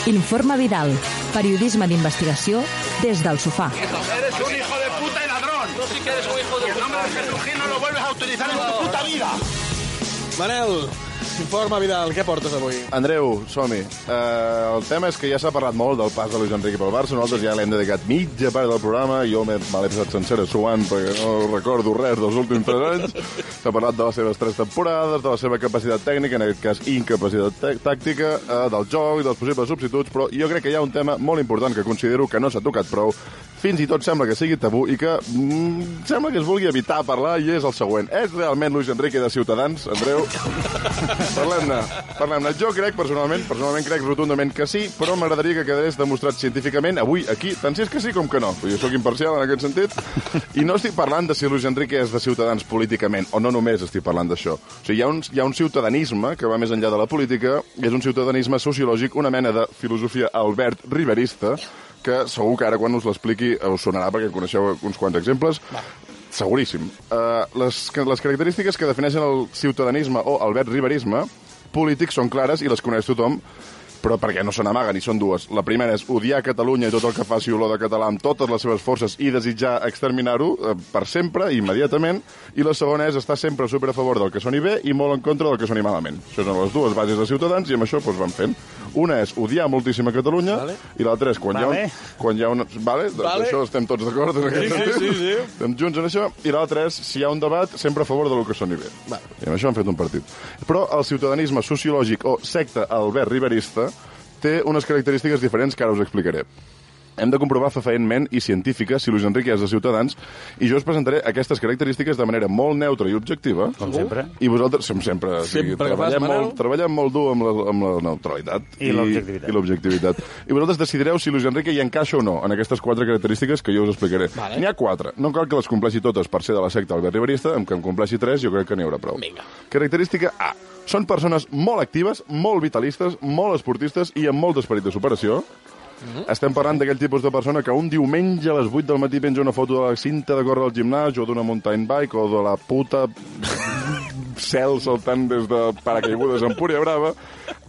S1: Informa Vidal. Periodisme d'investigació des del sofà.
S5: Eres un hijo de puta y ladrón. Tú sí que eres un hijo de puta. El nombre de Jesucristo no lo vuelves a utilizar en tu puta vida.
S10: Manel, informa Vidal, què portes avui?
S12: Andreu, som-hi. Uh, el tema és que ja s'ha parlat molt del pas de Luis Enrique pel Barça, nosaltres ja l'hem dedicat mitja part del programa, jo me me l'he passat sencera suant perquè no recordo res dels últims tres anys. S'ha parlat de les seves tres temporades, de la seva capacitat tècnica, en aquest cas incapacitat tec- tàctica, uh, del joc, dels possibles substituts, però jo crec que hi ha un tema molt important que considero que no s'ha tocat prou, fins i tot sembla que sigui tabú i que mm, sembla que es vulgui evitar parlar i és el següent. És realment Luis Enrique de Ciutadans, Andreu? Parlem-ne, parlem-ne. Jo crec, personalment, personalment crec rotundament que sí, però m'agradaria que quedés demostrat científicament avui, aquí, tant si és que sí com que no. Vull dir, Jo sóc imparcial en aquest sentit i no estic parlant de si Luis Enrique és de Ciutadans políticament, o no només estic parlant d'això. O sigui, hi ha, un, hi ha un ciutadanisme que va més enllà de la política, i és un ciutadanisme sociològic, una mena de filosofia Albert Riverista, que segur que ara quan us l'expliqui us sonarà perquè en coneixeu uns quants exemples. Seguríssim. Uh, les, les característiques que defineixen el ciutadanisme o Albert Riverisme polítics són clares i les coneix tothom, però perquè no se n'amaguen, i són dues. La primera és odiar Catalunya i tot el que faci olor de català amb totes les seves forces i desitjar exterminar-ho eh, per sempre, immediatament. I la segona és estar sempre super a favor del que soni bé i molt en contra del que soni malament. Això són les dues bases de Ciutadans i amb això doncs, van fent. Una és odiar moltíssim a Catalunya vale. i l'altra és quan hi ha
S10: Vale.
S12: un, quan hi ha una... Vale? Doncs
S10: Vale.
S12: això estem tots d'acord en aquest
S10: Sí, sí,
S12: sentit.
S10: sí, sí.
S12: Estem junts en això. I l'altre és, si hi ha un debat, sempre a favor de lo que soni bé. Va. I amb això han fet un partit. Però el ciutadanisme sociològic o secta Albert Riverista té unes característiques diferents que ara us explicaré. Hem de comprovar fefaentment i científica si Luis Enrique és de Ciutadans i jo us presentaré aquestes característiques de manera molt neutra i objectiva.
S3: Com sempre.
S12: I vosaltres, som sempre. o sigui,
S3: Sempre que
S12: treballem,
S3: fas, Manel.
S12: molt, treballem molt dur amb la, amb la neutralitat.
S3: I l'objectivitat.
S12: I l'objectivitat. I vosaltres decidireu si Luis Enrique hi encaixa o no en aquestes quatre característiques que jo us explicaré. Vale. N'hi ha quatre. No cal que les compleixi totes per ser de la secta Albert Riverista, amb que en compleixi tres jo crec que n'hi haurà prou. Vinga. Característica A. Són persones molt actives, molt vitalistes, molt esportistes i amb molt d'esperit de superació. Estem parlant d'aquell tipus de persona que un diumenge a les 8 del matí penja una foto de la cinta de córrer al gimnàs o d'una mountain bike o de la puta cel saltant des de paracaigudes en Púria Brava,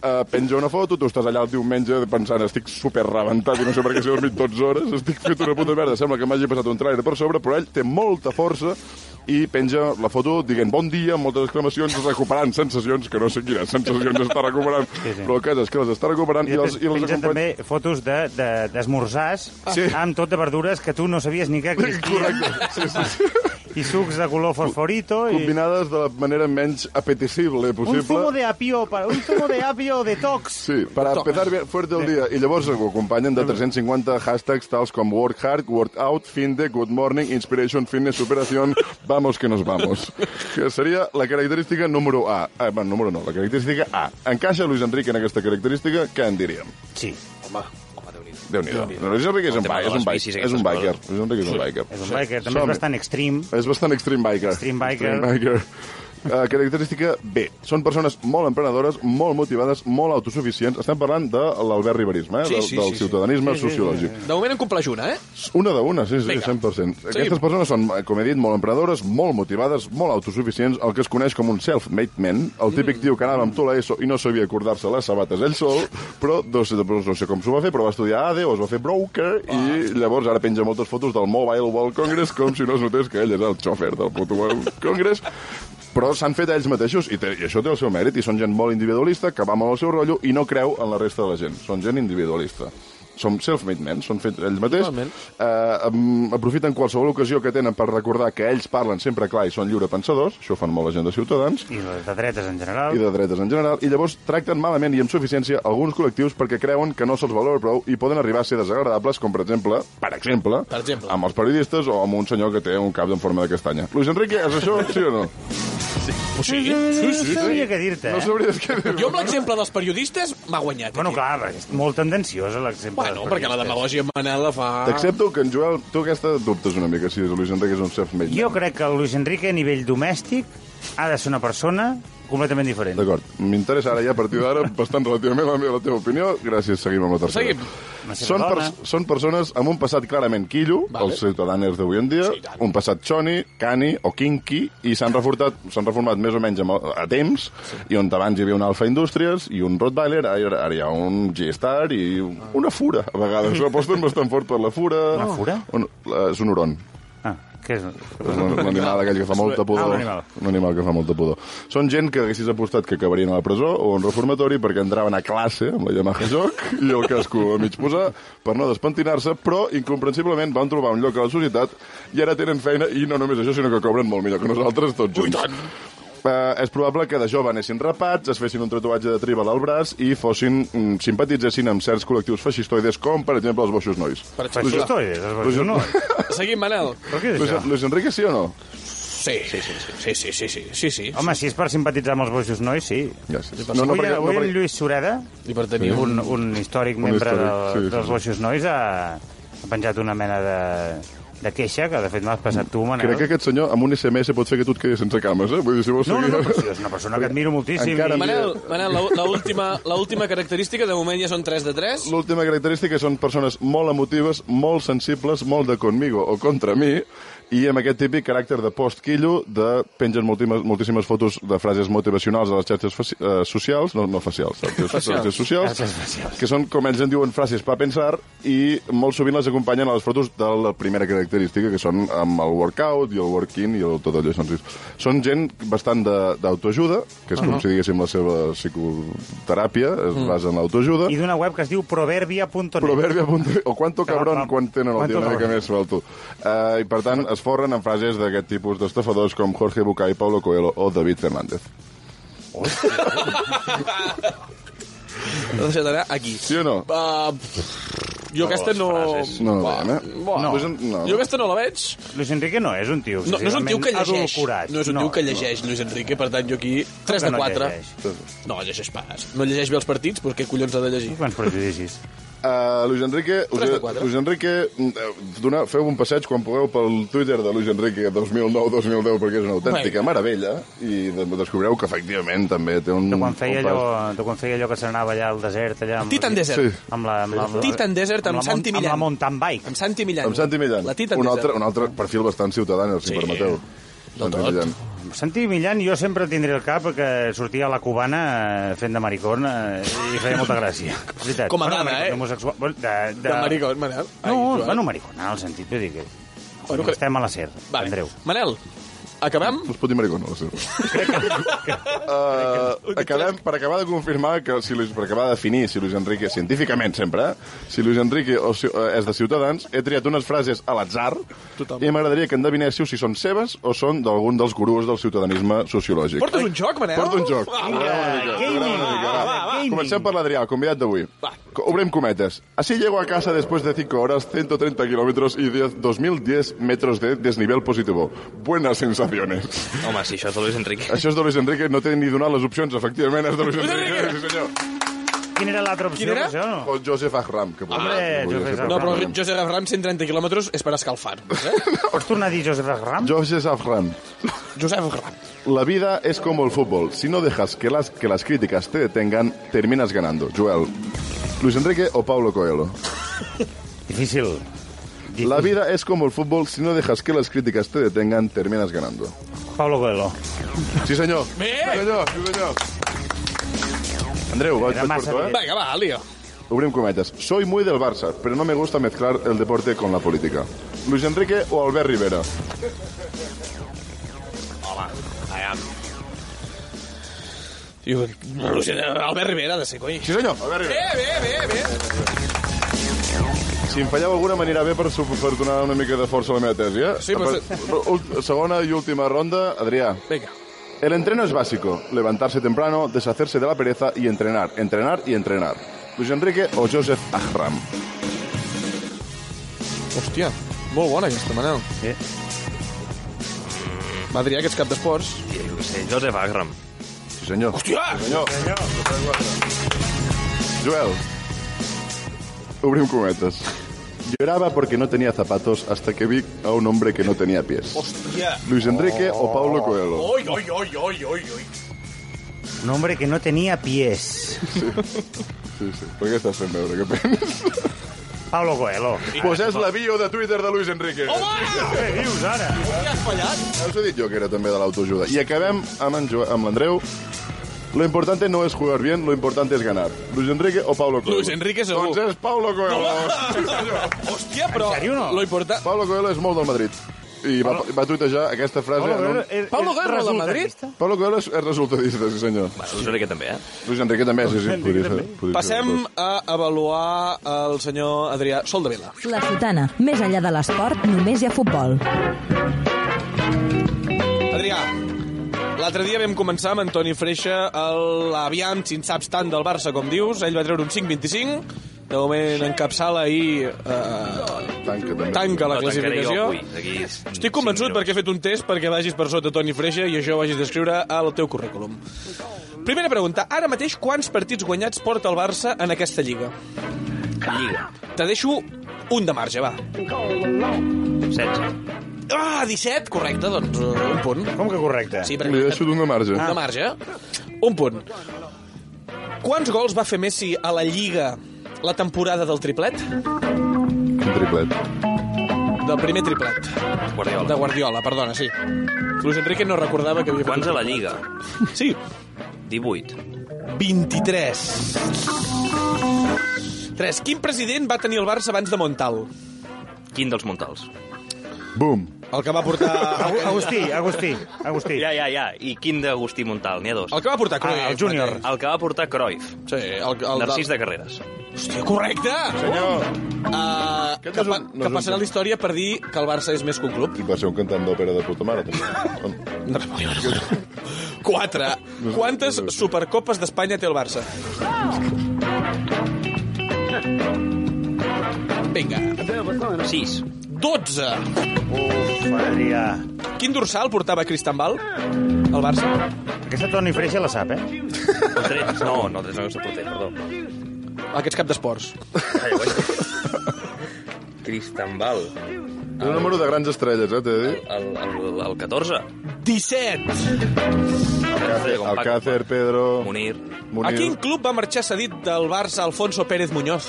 S12: eh, penja una foto, tu estàs allà el diumenge pensant estic super rebentat i no sé per què s'he dormit 12 hores, estic fet una puta merda, sembla que m'hagi passat un trailer per sobre, però ell té molta força i penja la foto dient bon dia, amb moltes exclamacions, recuperant sensacions, que no sé quines sensacions està recuperant, sí, sí. però el cas és que les està recuperant i,
S3: I
S12: els, i els
S3: pengen
S12: acompanya...
S3: també fotos de- de- d'esmorzars de, sí. amb tot de verdures que tu no sabies ni que existien.
S12: Sí, sí,
S3: sí. I sucs de color fosforito. I...
S12: combinades de la manera menys apetecible
S3: Un zumo
S12: possible.
S3: de apio, per- un zumo de apio de tox.
S12: Sí, per empezar bien fuerte el dia. I llavors ho acompanyen de 350 hashtags tals com work hard, work out, finde, good morning, inspiration, fitness, superación, vamos que nos vamos. Que seria la característica número A. Ah, bueno, número no, la característica A. Encaixa Luis Enrique en aquesta característica, què en diríem?
S3: Sí.
S4: Home, home Déu-n'hi-do.
S12: Déu-n'hi-do. Luis Enrique és un, bi- és un, biker, és un biker. Luis Enrique és un biker.
S10: Mm-hmm.
S3: És un biker, també és bastant extreme.
S12: És bastant extreme biker.
S3: Extreme biker.
S12: Extreme biker. Eh, característica B. Són persones molt emprenedores, molt motivades, molt autosuficients. Estem parlant de l'Albert Riverisme, eh?
S10: Sí,
S12: del,
S10: sí,
S12: del
S10: sí, sí.
S12: ciutadanisme
S10: Sí, sí, sí,
S12: sociològic.
S10: De moment en compleix una, eh?
S12: Una de una, sí, sí,
S10: Vinga.
S12: 100%. Aquestes
S10: Seguim.
S12: persones són, eh, com he dit, molt emprenedores, molt motivades, molt autosuficients, el que es coneix com un self-made man, el típic
S10: Mm.
S12: tio que anava amb tu a l'ESO i no sabia acordar-se les sabates ell sol, però no sé, doncs no sé com s'ho va fer, però va estudiar ADE o es va fer broker i
S10: Ah.
S12: llavors ara penja moltes fotos del Mobile World Congress com si no es notés que ell és el xòfer del puto World Congress. Però s'han fet ells mateixos i, té, i això té el seu mèrit i són gent molt individualista que va molt al seu rotllo i no creu en la resta de la gent. Són gent individualista som self-made men, són fets ells mateixos. Eh, em- aprofiten qualsevol ocasió que tenen per recordar que ells parlen sempre clar i són lliurepensadors, això ho fan molt la gent de Ciutadans,
S3: I les de dretes en general.
S12: i de dretes en general, i llavors tracten malament i amb suficiència alguns col·lectius perquè creuen que no se'ls valora prou i poden arribar a ser desagradables, com per exemple, per exemple, per exemple. amb els periodistes o amb un senyor que té un cap en forma de castanya. Luis Enrique, és això, sí o no?
S10: Oh, sí,
S3: No,
S10: sí, sí.
S3: sabria què dir-te,
S10: No
S3: eh?
S10: sabries
S12: què dir
S10: Jo amb l'exemple dels periodistes m'ha guanyat.
S3: Bueno, clar, és molt tendenciosa l'exemple.
S10: Bueno, perquè la demagògia Manel la fa...
S12: T'accepto que en Joel, tu aquesta dubtes una mica, si Luis Enrique és un self-made man.
S3: Jo crec que el Luis Enrique, a nivell domèstic, ha de ser una persona completament diferent.
S12: D'acord, m'interessa ara ja a partir d'ara bastant relativament la, meva, la teva opinió. Gràcies, seguim amb la tercera.
S10: Seguim.
S12: Són, per, són persones amb un passat clarament quillo, vale. els ciutadans d'avui en dia, sí, un passat xoni, cani o kinky, i s'han reformat, s'han reformat més o menys a, a temps, sí. i on abans hi havia un Alfa Indústries i un Rottweiler, ara, ara hi ha un G-Star i un- una fura, a vegades. Aposten bastant fort per la fura.
S3: Una fura?
S12: Un, la- és un huron.
S3: Ah, què és?
S12: És un, un animal aquell que fa molta pudor.
S3: Ah, un animal.
S12: Un animal que fa molta pudor. Són gent que haguessis apostat que acabarien a la presó o a un reformatori perquè entraven a classe amb la Yamaha Joc i el casco a mig posar per no despentinar-se, però incomprensiblement van trobar un lloc a la societat i ara tenen feina i no només això, sinó que cobren molt millor que nosaltres tots junts. Uh, és probable que de jove anessin rapats, es fessin un tatuatge de tribal al braç i fossin, mm, simpatitzessin amb certs col·lectius feixistoides, com, per exemple, els boixos nois.
S10: Per exemple. Feixistoides, els boixos
S12: Luis-
S10: nois. Seguim, Manel. Però
S12: Luis, Luis Enrique, sí o no?
S10: Sí, sí, sí, sí, sí, sí, sí, sí, sí.
S3: Home, si és per simpatitzar amb els boixos nois, sí.
S12: Gràcies.
S3: No, no, avui, perquè,
S12: no,
S3: avui no,
S12: perquè-
S3: el Lluís Sureda,
S10: I per
S12: tenir
S3: un,
S12: un-
S3: un històric
S12: un
S3: membre
S12: històric,
S3: del,
S12: sí, sí,
S3: dels
S12: sí.
S3: boixos nois, ha, ha penjat una mena de, de queixa, que de fet m'has passat tu, Manel.
S12: Crec que aquest senyor amb un SMS pot fer que tu et quedis sense cames, eh? Vull dir, si vols
S3: eh? No, no,
S12: seguir-
S3: no, però sí, és una persona que admiro moltíssim.
S12: Encara
S3: i-
S12: Manel,
S10: Manel, la- la última- la última característica, de moment ja són 3 de 3.
S12: L'última característica són persones molt emotives, molt sensibles, molt de conmigo o contra mi, i amb aquest típic caràcter de postquillo, de pengen moltíssimes, moltíssimes fotos de frases motivacionals a les xarxes faci, eh, socials, no, no facials, xarxes,
S10: Facials.
S12: xarxes socials,
S10: Xarxes facials.
S12: que són, com ells en diuen, frases per pensar, i molt sovint les acompanyen a les fotos de la primera característica, que són amb el workout i el work-in i el, tot allò. Són, són gent bastant de- d'autoajuda, que és com
S3: Ahà.
S12: si diguéssim la seva psicoteràpia, es
S3: Mm.
S12: basa en l'autoajuda,
S3: I d'una web que es diu proverbia.net.
S12: Proverbia.net. O quanto
S3: Que va,
S12: cabron
S3: va.
S12: quan tenen el
S3: Quanto
S12: dia una mica
S3: cabron.
S12: més falto. Uh, I, per tant, es forren en frases d'aquest tipus d'estafadors com Jorge Bucay, Pablo Coelho o David Fernández.
S10: L'ha deixat anar aquí.
S12: Sí o no?
S10: Uh, jo aquesta no...
S12: No, no, no,
S10: Buah.
S12: no. no.
S10: Jo aquesta no la veig.
S3: Luis Enrique no és un tio.
S10: No, no és un tio que llegeix.
S3: Adulcorat.
S10: No és un tio que llegeix, Luis Enrique, per tant, jo aquí... 3 de
S3: no
S10: 4.
S3: llegeix?
S10: No, llegeix pas. No llegeix bé els partits, però què collons ha de llegir?
S3: Quants prejudicis?
S12: Uh, Luis Enrique, us,
S10: Tres de quatre.
S12: Luis Enrique mm, donar, feu un passeig quan pugueu pel Twitter de Luis Enrique 2009-2010 perquè és una autèntica
S3: Vinga.
S12: meravella i de- descobreu que efectivament també té un...
S3: De quan feia
S12: un pas-
S3: allò, de quan feia allò que se n'anava allà al desert, allà... Amb
S10: Titan
S3: la-
S10: Desert.
S3: Sí. Amb la, amb la, amb la,
S10: Titan Desert amb,
S3: la mon-
S10: Santi Millán.
S3: Amb la mountain bike.
S10: Amb Santi Millán.
S12: Amb Santi Millán,
S10: La Titan
S12: un
S10: Desert.
S12: altre, un altre perfil bastant ciutadà, si sí. permeteu. Santi Millán.
S3: Amb Santi Millán jo sempre tindré el cap que sortia a la cubana eh, fent de maricón eh, i feia molta gràcia. És veritat.
S10: Com a
S3: Bueno,
S10: dama,
S3: maricón,
S10: eh?
S3: Homosexual. bueno, De, de...
S10: De maricón, Manel. Ai,
S3: No,
S10: Joan.
S3: bueno, maricón, en el sentit, vull dir que...
S10: Bueno,
S3: Bueno,
S10: que-
S3: Estem a la serra,
S10: Vale.
S3: Andreu.
S10: Manel, acabem?
S12: No es pot dir maricón, no sé. uh, acabem, per acabar de confirmar, que si Luis, per acabar de definir si Luis Enrique, científicament sempre, eh? si Luis Enrique o, si, eh, és de Ciutadans, he triat unes frases a l'atzar
S10: Tothom.
S12: i m'agradaria que endevinéssiu si són seves o són d'algun dels gurus del ciutadanisme sociològic.
S10: Portes un joc, Manel?
S12: Porta un joc. Comencem per l'Adrià, el convidat d'avui. Co- Obrem cometes. Así llego a casa después de 5 horas, 130 kilómetros y 10 2010 metros de desnivel positivo. Buenas sensaciones.
S11: Home, si això és de Luis Enrique.
S12: Això és de Luis Enrique, no t'he ni donat les opcions, efectivament, és de Luis Enrique. Sí, senyor.
S3: quin era l'altra opció?
S10: Quin era?
S3: Això?
S12: O Joseph Ahram, que
S3: Hombre, Joseph
S10: No, però Josep Abraham, 130 quilòmetres és per escalfar. Eh?
S3: Pots tornar a dir Joseph Ahram?
S12: Joseph Ahram.
S10: Joseph Ahram.
S12: La vida es como el fútbol. Si no dejas que las, que las críticas te detengan, terminas ganando. Joel. Luis Enrique o Pablo Coelho.
S3: Difícil.
S12: La vida es como el fútbol. Si no dejas que las críticas te detengan, terminas ganando.
S3: Pablo Coelho.
S12: Sí, senyor.
S10: Bé!
S12: Sí, senyor, sí, senyor. Andreu, vaig
S10: Era
S12: vaig
S10: massa
S12: curto, eh?
S10: bé. Vinga, va, lío.
S12: Obrim cometes. Soy muy del Barça, pero no me gusta mezclar el deporte con la política. Luis Enrique o Albert Rivera.
S10: Home, aviam. Tio, Albert Rivera ha de ser, coi.
S12: Sí, senyor. Albert Rivera.
S10: Bé, bé, bé, bé.
S12: Si em falleu alguna manera bé per, su- per donar una mica de força a la meva tesi, eh?
S10: Sí, però-
S12: Ul- Segona i última ronda, Adrià.
S10: Vinga.
S12: El entreno es básico. Levantarse temprano, deshacerse de la pereza y entrenar, entrenar y entrenar. Luis Enrique o Joseph Ahram.
S10: Hòstia, molt bona aquesta, Manel.
S3: Sí.
S10: Va, Adrià, que ets cap d'esports.
S11: Jo què sé, Joseph Agram.
S12: Sí, senyor.
S10: Hòstia!
S12: Sí, senyor. Joel. Obrim cometes. Lloraba porque no tenía zapatos hasta que vi a un hombre que no tenía pies.
S10: Hòstia. Oh.
S12: Luis Enrique o Pablo Coelho.
S10: Oi, oi, oi, oi, oi, oi.
S3: Un hombre que no tenia pies.
S12: Sí, sí. Per què estàs fent veure que penses?
S3: Pablo Coelho.
S12: Pues és la bio de Twitter de Luis Enrique.
S3: Què dius, ara?
S10: Ja has fallat.
S12: Ja us he dit jo que era també de l'autoajuda. I acabem amb en Jo- amb l'Andreu. Lo importante no es jugar bien, lo importante es ganar. Luis Enrique o Pablo Coelho?
S10: Luis Enrique segur.
S12: Doncs és Pablo Coelho.
S10: Hòstia, però...
S12: En sèrio, no?
S10: Lo important...
S12: Pablo Coelho és molt del Madrid. I va, va tuitejar aquesta frase...
S3: Pablo
S12: en un-
S3: Coelho és-
S10: Pablo
S3: és
S10: Guerra, de Madrid?
S3: resultadista?
S12: Pablo Coelho és, és resultadista, sí senyor.
S11: Luis Enrique també, eh?
S12: Luis Enrique també, sí, sí. Podria ser, podria
S10: Passem a avaluar el senyor Adrià Sol de Vila.
S1: La sotana. Més enllà de l'esport, només hi ha futbol.
S10: Adrià, l'altre dia vam començar amb Antoni Freixa, el- l'aviam, si en saps tant del Barça com dius, ell va treure un 5-25, de moment encapçala i eh,
S12: ser. Tanca, també.
S10: tanca la
S11: No, tancaré jo
S10: classificació.
S11: avui. D'aquí
S10: Estic convençut perquè he fet un test perquè vagis per sota Toni Freixa i això ho hagis d'escriure al teu currículum. Primera pregunta. Ara mateix, quants partits guanyats porta el Barça en aquesta Lliga?
S11: Lliga.
S10: Te deixo un de marge, va.
S11: 16.
S10: Ah, 17? Correcte, doncs eh, un punt.
S3: Com que correcte?
S10: Sí,
S12: Li
S10: perquè
S12: deixo d'un de marge.
S10: de marge. Un punt. Quants gols va fer Messi a la Lliga la temporada del triplet?
S12: Un triplet.
S10: Del primer triplet.
S11: Guardiola.
S10: De Guardiola, perdona, sí. Luis Enrique no recordava que havia fet...
S11: Quants a la Lliga?
S10: Sí,
S11: 18.
S10: 23. 3. Quin president va tenir el Barça abans de Montal?
S11: Quin dels Montals?
S12: Bum.
S10: El que va portar...
S3: Agu- Agustí, Agustí, Agustí.
S11: Ja, ja, ja. I quin d'Agustí Montal? N'hi ha dos.
S10: El que va portar Cruyff.
S3: Ah, el júnior.
S11: El que va portar Cruyff.
S10: Sí, el, el,
S11: Narcís de Carreras.
S10: Hòstia, correcte!
S12: Senyor,
S10: Uh, que,
S12: és un-
S10: pa,
S12: no és
S10: que
S12: un
S10: passarà
S12: cas.
S10: la història per dir que el Barça és més que un club.
S12: va ser un cantant d'òpera de puta mare, també.
S10: Doncs, 4. Quantes Supercopes d'Espanya té el Barça? Vinga.
S11: 6.
S10: 12.
S3: Uf, Adrià.
S10: Quin dorsal portava Cristambal? El Barça.
S3: Aquesta Toni Freixa la sap, eh?
S11: O 13. No, no, 13 no és el porter,
S10: Ah,
S11: perdó.
S10: Aquests cap d'esports.
S11: Cristambal.
S12: És un número de grans estrelles, eh, t'he de dir.
S11: El, el, el 14.
S10: 17.
S12: Alcácer, Alcácer Pedro...
S11: Munir.
S10: A
S12: Munir.
S10: quin club va marxar cedit del Barça Alfonso Pérez Muñoz?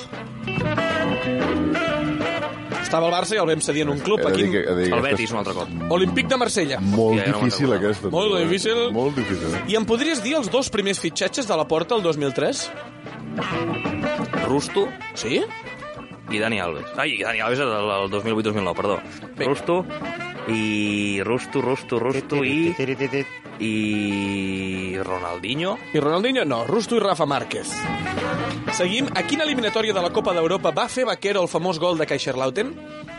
S10: Estava al Barça i el vam cedir en un club.
S12: He
S10: A
S12: de dir
S10: quin...
S12: que, he de dir
S11: El
S12: que aquesta és
S11: Betis, un altre cop.
S10: Olímpic de Marsella.
S12: Molt
S11: Hòstia, ja no me'n
S12: difícil,
S11: recordava.
S12: aquesta.
S10: Molt difícil.
S12: Molt difícil. eh?
S10: I em podries dir els dos primers fitxatges de la porta el 2003?
S11: Rusto
S10: Sí?
S11: i Dani Alves. Ai, Dani Alves era del del 2008-2009, perdó.
S10: Bé.
S11: Rusto i... Rusto, Rusto, Rusto i...
S3: Tiri-tiri-tiri.
S11: i Ronaldinho.
S10: I Ronaldinho no, Rusto i Rafa Márquez. Seguim. A quina eliminatòria de la Copa d'Europa va fer Vaquero el famós gol de Kaiserlauten?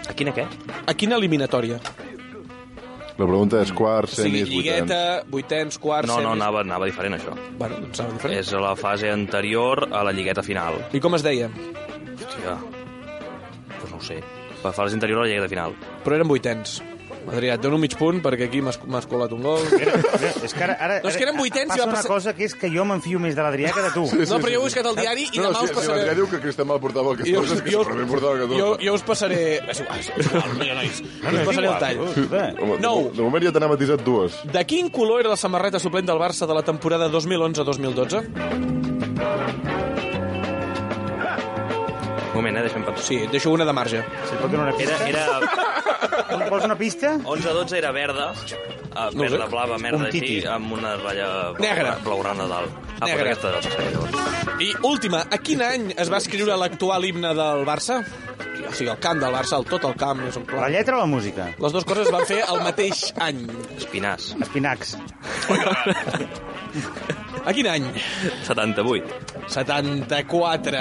S11: A quina què?
S10: A quina eliminatòria?
S12: La pregunta és quarts,
S10: o sigui,
S12: semis, vuitens.
S10: lligueta, vuitens, quarts,
S11: No, no,
S10: semis...
S11: anava, anava diferent, això.
S10: Bueno, doncs anava diferent.
S11: És a la fase anterior a la lligueta final.
S10: I com es deia?
S11: Doncs Hòstia. Pues no ho sé. La fase anterior a la lligueta final.
S10: Però eren vuitens. Adrià, et dono mig punt perquè aquí m'has m'has colat un gol.
S3: És que ara, ara,
S10: No, és que eren vuitens i
S3: passa
S10: va
S3: una
S10: passar-
S3: cosa que és que jo m'enfio més de l'Adrià que de tu.
S10: No, però jo he buscat el diari i demà us passaré-
S12: Si l'Adrià diu que Cristal portava el
S10: Jo-
S12: 14, és que
S10: jo-
S12: segurament portava el 14.
S10: Jo, jo us passaré... És igual, és igual, no, nois.
S12: no,
S10: us
S12: és
S10: passaré el
S12: igual,
S10: tall.
S12: Home, de-
S10: Nou.
S12: De moment ja t'han matisat dues.
S10: De quin color era la samarreta suplent del Barça de la temporada 2011-2012?
S11: Un moment, eh? Deixa'm pensar.
S10: Sí, deixo una de marge.
S3: Sí, pot donar una
S11: Era,
S3: pista?
S11: era...
S3: Vols una pista?
S11: 11-12 era verda, uh,
S3: No ho sé.
S11: verda, blava,
S3: Un
S11: merda,
S3: titi.
S11: així, amb una ratlla
S10: Negra.
S11: blaugrana dalt. Ah, Negra.
S10: Negra.
S11: Aquesta, aquesta, aquesta.
S10: I última, a quin any es va escriure l'actual himne del Barça? O sigui, el camp del Barça, el, tot el camp, és un clar.
S3: La lletra o la música?
S10: Les dues coses es van fer el mateix any.
S11: Espinàs.
S3: Espinacs.
S10: A quin any?
S11: 78.
S10: 74.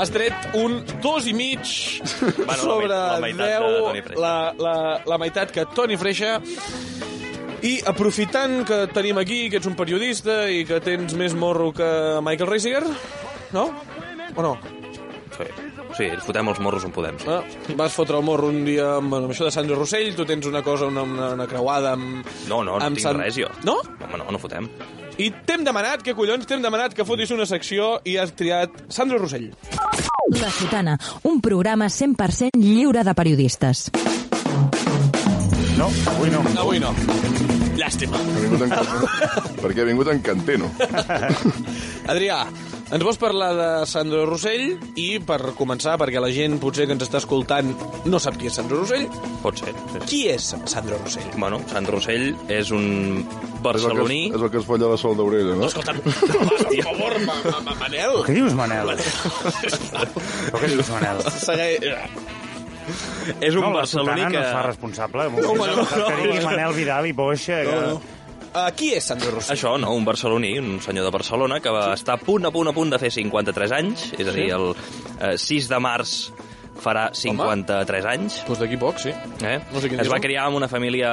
S10: Has tret un dos i mig
S11: la mei-
S10: sobre
S11: la
S10: la
S11: meitat de
S10: 10,
S11: Toni Freixa.
S10: la, la, la meitat que Toni Freixa. I aprofitant que et tenim aquí, que ets un periodista i que tens més morro que Michael Reisiger, no? O no?
S11: Sí. sí, ens fotem els morros on podem.
S10: Ah, vas fotre el morro un dia amb, amb això de Sandro Rossell, tu tens una cosa, una, una, una creuada amb...
S11: No, no, no
S10: Amb
S11: tinc
S10: Sant-
S11: res, jo.
S10: No?
S11: Home, no, no fotem.
S10: I t'hem demanat, que collons, t'hem demanat que fotis una secció i has triat Sandro Rossell.
S1: La Sotana, un programa 100% lliure de periodistes.
S3: No, avui no.
S10: Avui no. Llàstima.
S12: Ha vingut en... perquè ha vingut en Canteno.
S10: Adrià, ens vols parlar de Sandro Rossell i, per començar, perquè la gent potser que ens està escoltant no sap qui és Sandro Rossell,
S11: Pot ser. Sí.
S10: qui és Sandro Rossell?
S11: Bueno, Sant Rossell és un barceloní...
S12: És el que es, és el que es folla la sol d'orella, no?
S10: Escolta'm, per favor, ma, ma, ma, Manel.
S3: Què dius, Manel? Però què dius, Manel?
S11: És un
S3: no, la
S11: barceloní
S3: sotana
S11: que...
S3: no es fa responsable.
S11: No, home, no,
S3: Que
S11: no.
S3: digui Manel Vidal i Boixa.
S11: No,
S3: que-
S11: no.
S10: Uh, qui és Sandro Rossell?
S11: Això, no, un barceloní, un senyor de Barcelona que va estar a punt, a punt, a punt de fer 53 anys, és a dir, el eh, 6 de març farà 53 Home. anys.
S10: Doncs d'aquí poc, sí.
S11: Eh?
S10: No sé quin
S11: es
S10: dia
S11: va
S10: som.
S11: criar amb una família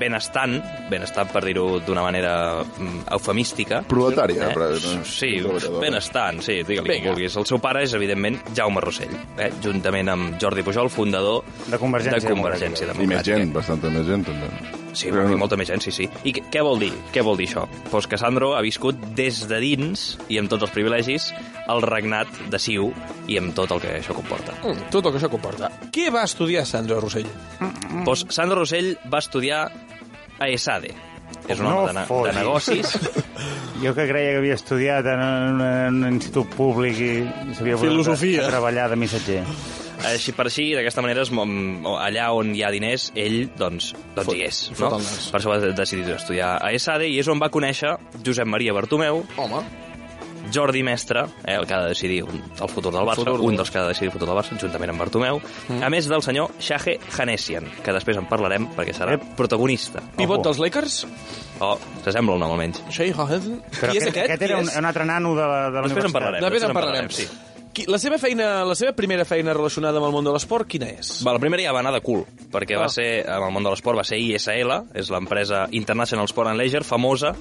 S11: benestant, benestant per dir-ho d'una manera mm, eufemística. Eh?
S12: Proletària, eh? però-
S11: Sí,
S12: treballadora.
S11: benestant, sí, digue-li com
S12: Vinga.
S11: vulguis. El seu pare és, evidentment, Jaume Rossell, eh? juntament amb Jordi Pujol, fundador
S3: de Convergència,
S11: de Convergència
S12: I més gent, bastanta més gent, també.
S11: eh? Sí, però no. molta més gent, sí, sí. I què- què vol dir? Què vol dir això? Pues que Sandro ha viscut des de dins, i amb tots els privilegis, el regnat de Siu i amb tot el que això comporta.
S10: Mm, tot el que això comporta. Què va estudiar Sandro Rossell?
S11: Pues Sandro Rossell va estudiar a ESADE. És un home de, ne- de
S3: fotis.
S11: negocis.
S3: Jo que creia que havia estudiat en un, en un institut públic i s'havia posat
S11: Filosofia.
S3: A, a treballar de missatger.
S11: Així Eh, per així, d'aquesta manera, es mom- allà on hi ha diners, ell, doncs, doncs hi és. No?
S10: fot el nas.
S11: Per això va decidir estudiar a ESADE i és on va conèixer Josep Maria Bartomeu,
S10: Home.
S11: Jordi Mestre, eh, el que ha de decidir un- el futur del
S10: El
S11: Barça,
S10: futur del
S11: un dels que ha de decidir el futur del Barça, juntament amb Bartomeu,
S10: Mm.
S11: a més del senyor Shahe Hanessian, que després en parlarem perquè serà
S10: Eh.
S11: protagonista.
S10: Pivot dels Lakers?
S11: Oh, s'assembla el nom almenys.
S10: Shea Hohen?
S11: Però
S10: Qui és
S11: aquest-
S10: aquest?
S11: aquest era
S10: Qui
S11: un-
S10: és?
S3: Un altre nano de la, de la
S11: Després en
S3: universitat.
S11: parlarem.
S10: Després en
S11: parlarem,
S10: parlarem.
S11: sí.
S10: Qui- La seva feina, la seva primera feina relacionada amb el món de l'esport, quina és?
S11: Va, la primera ja va anar de cul, perquè
S12: Ah.
S11: va ser, en el món de l'esport, va ser ISL, és l'empresa International Sport and Leisure, famosa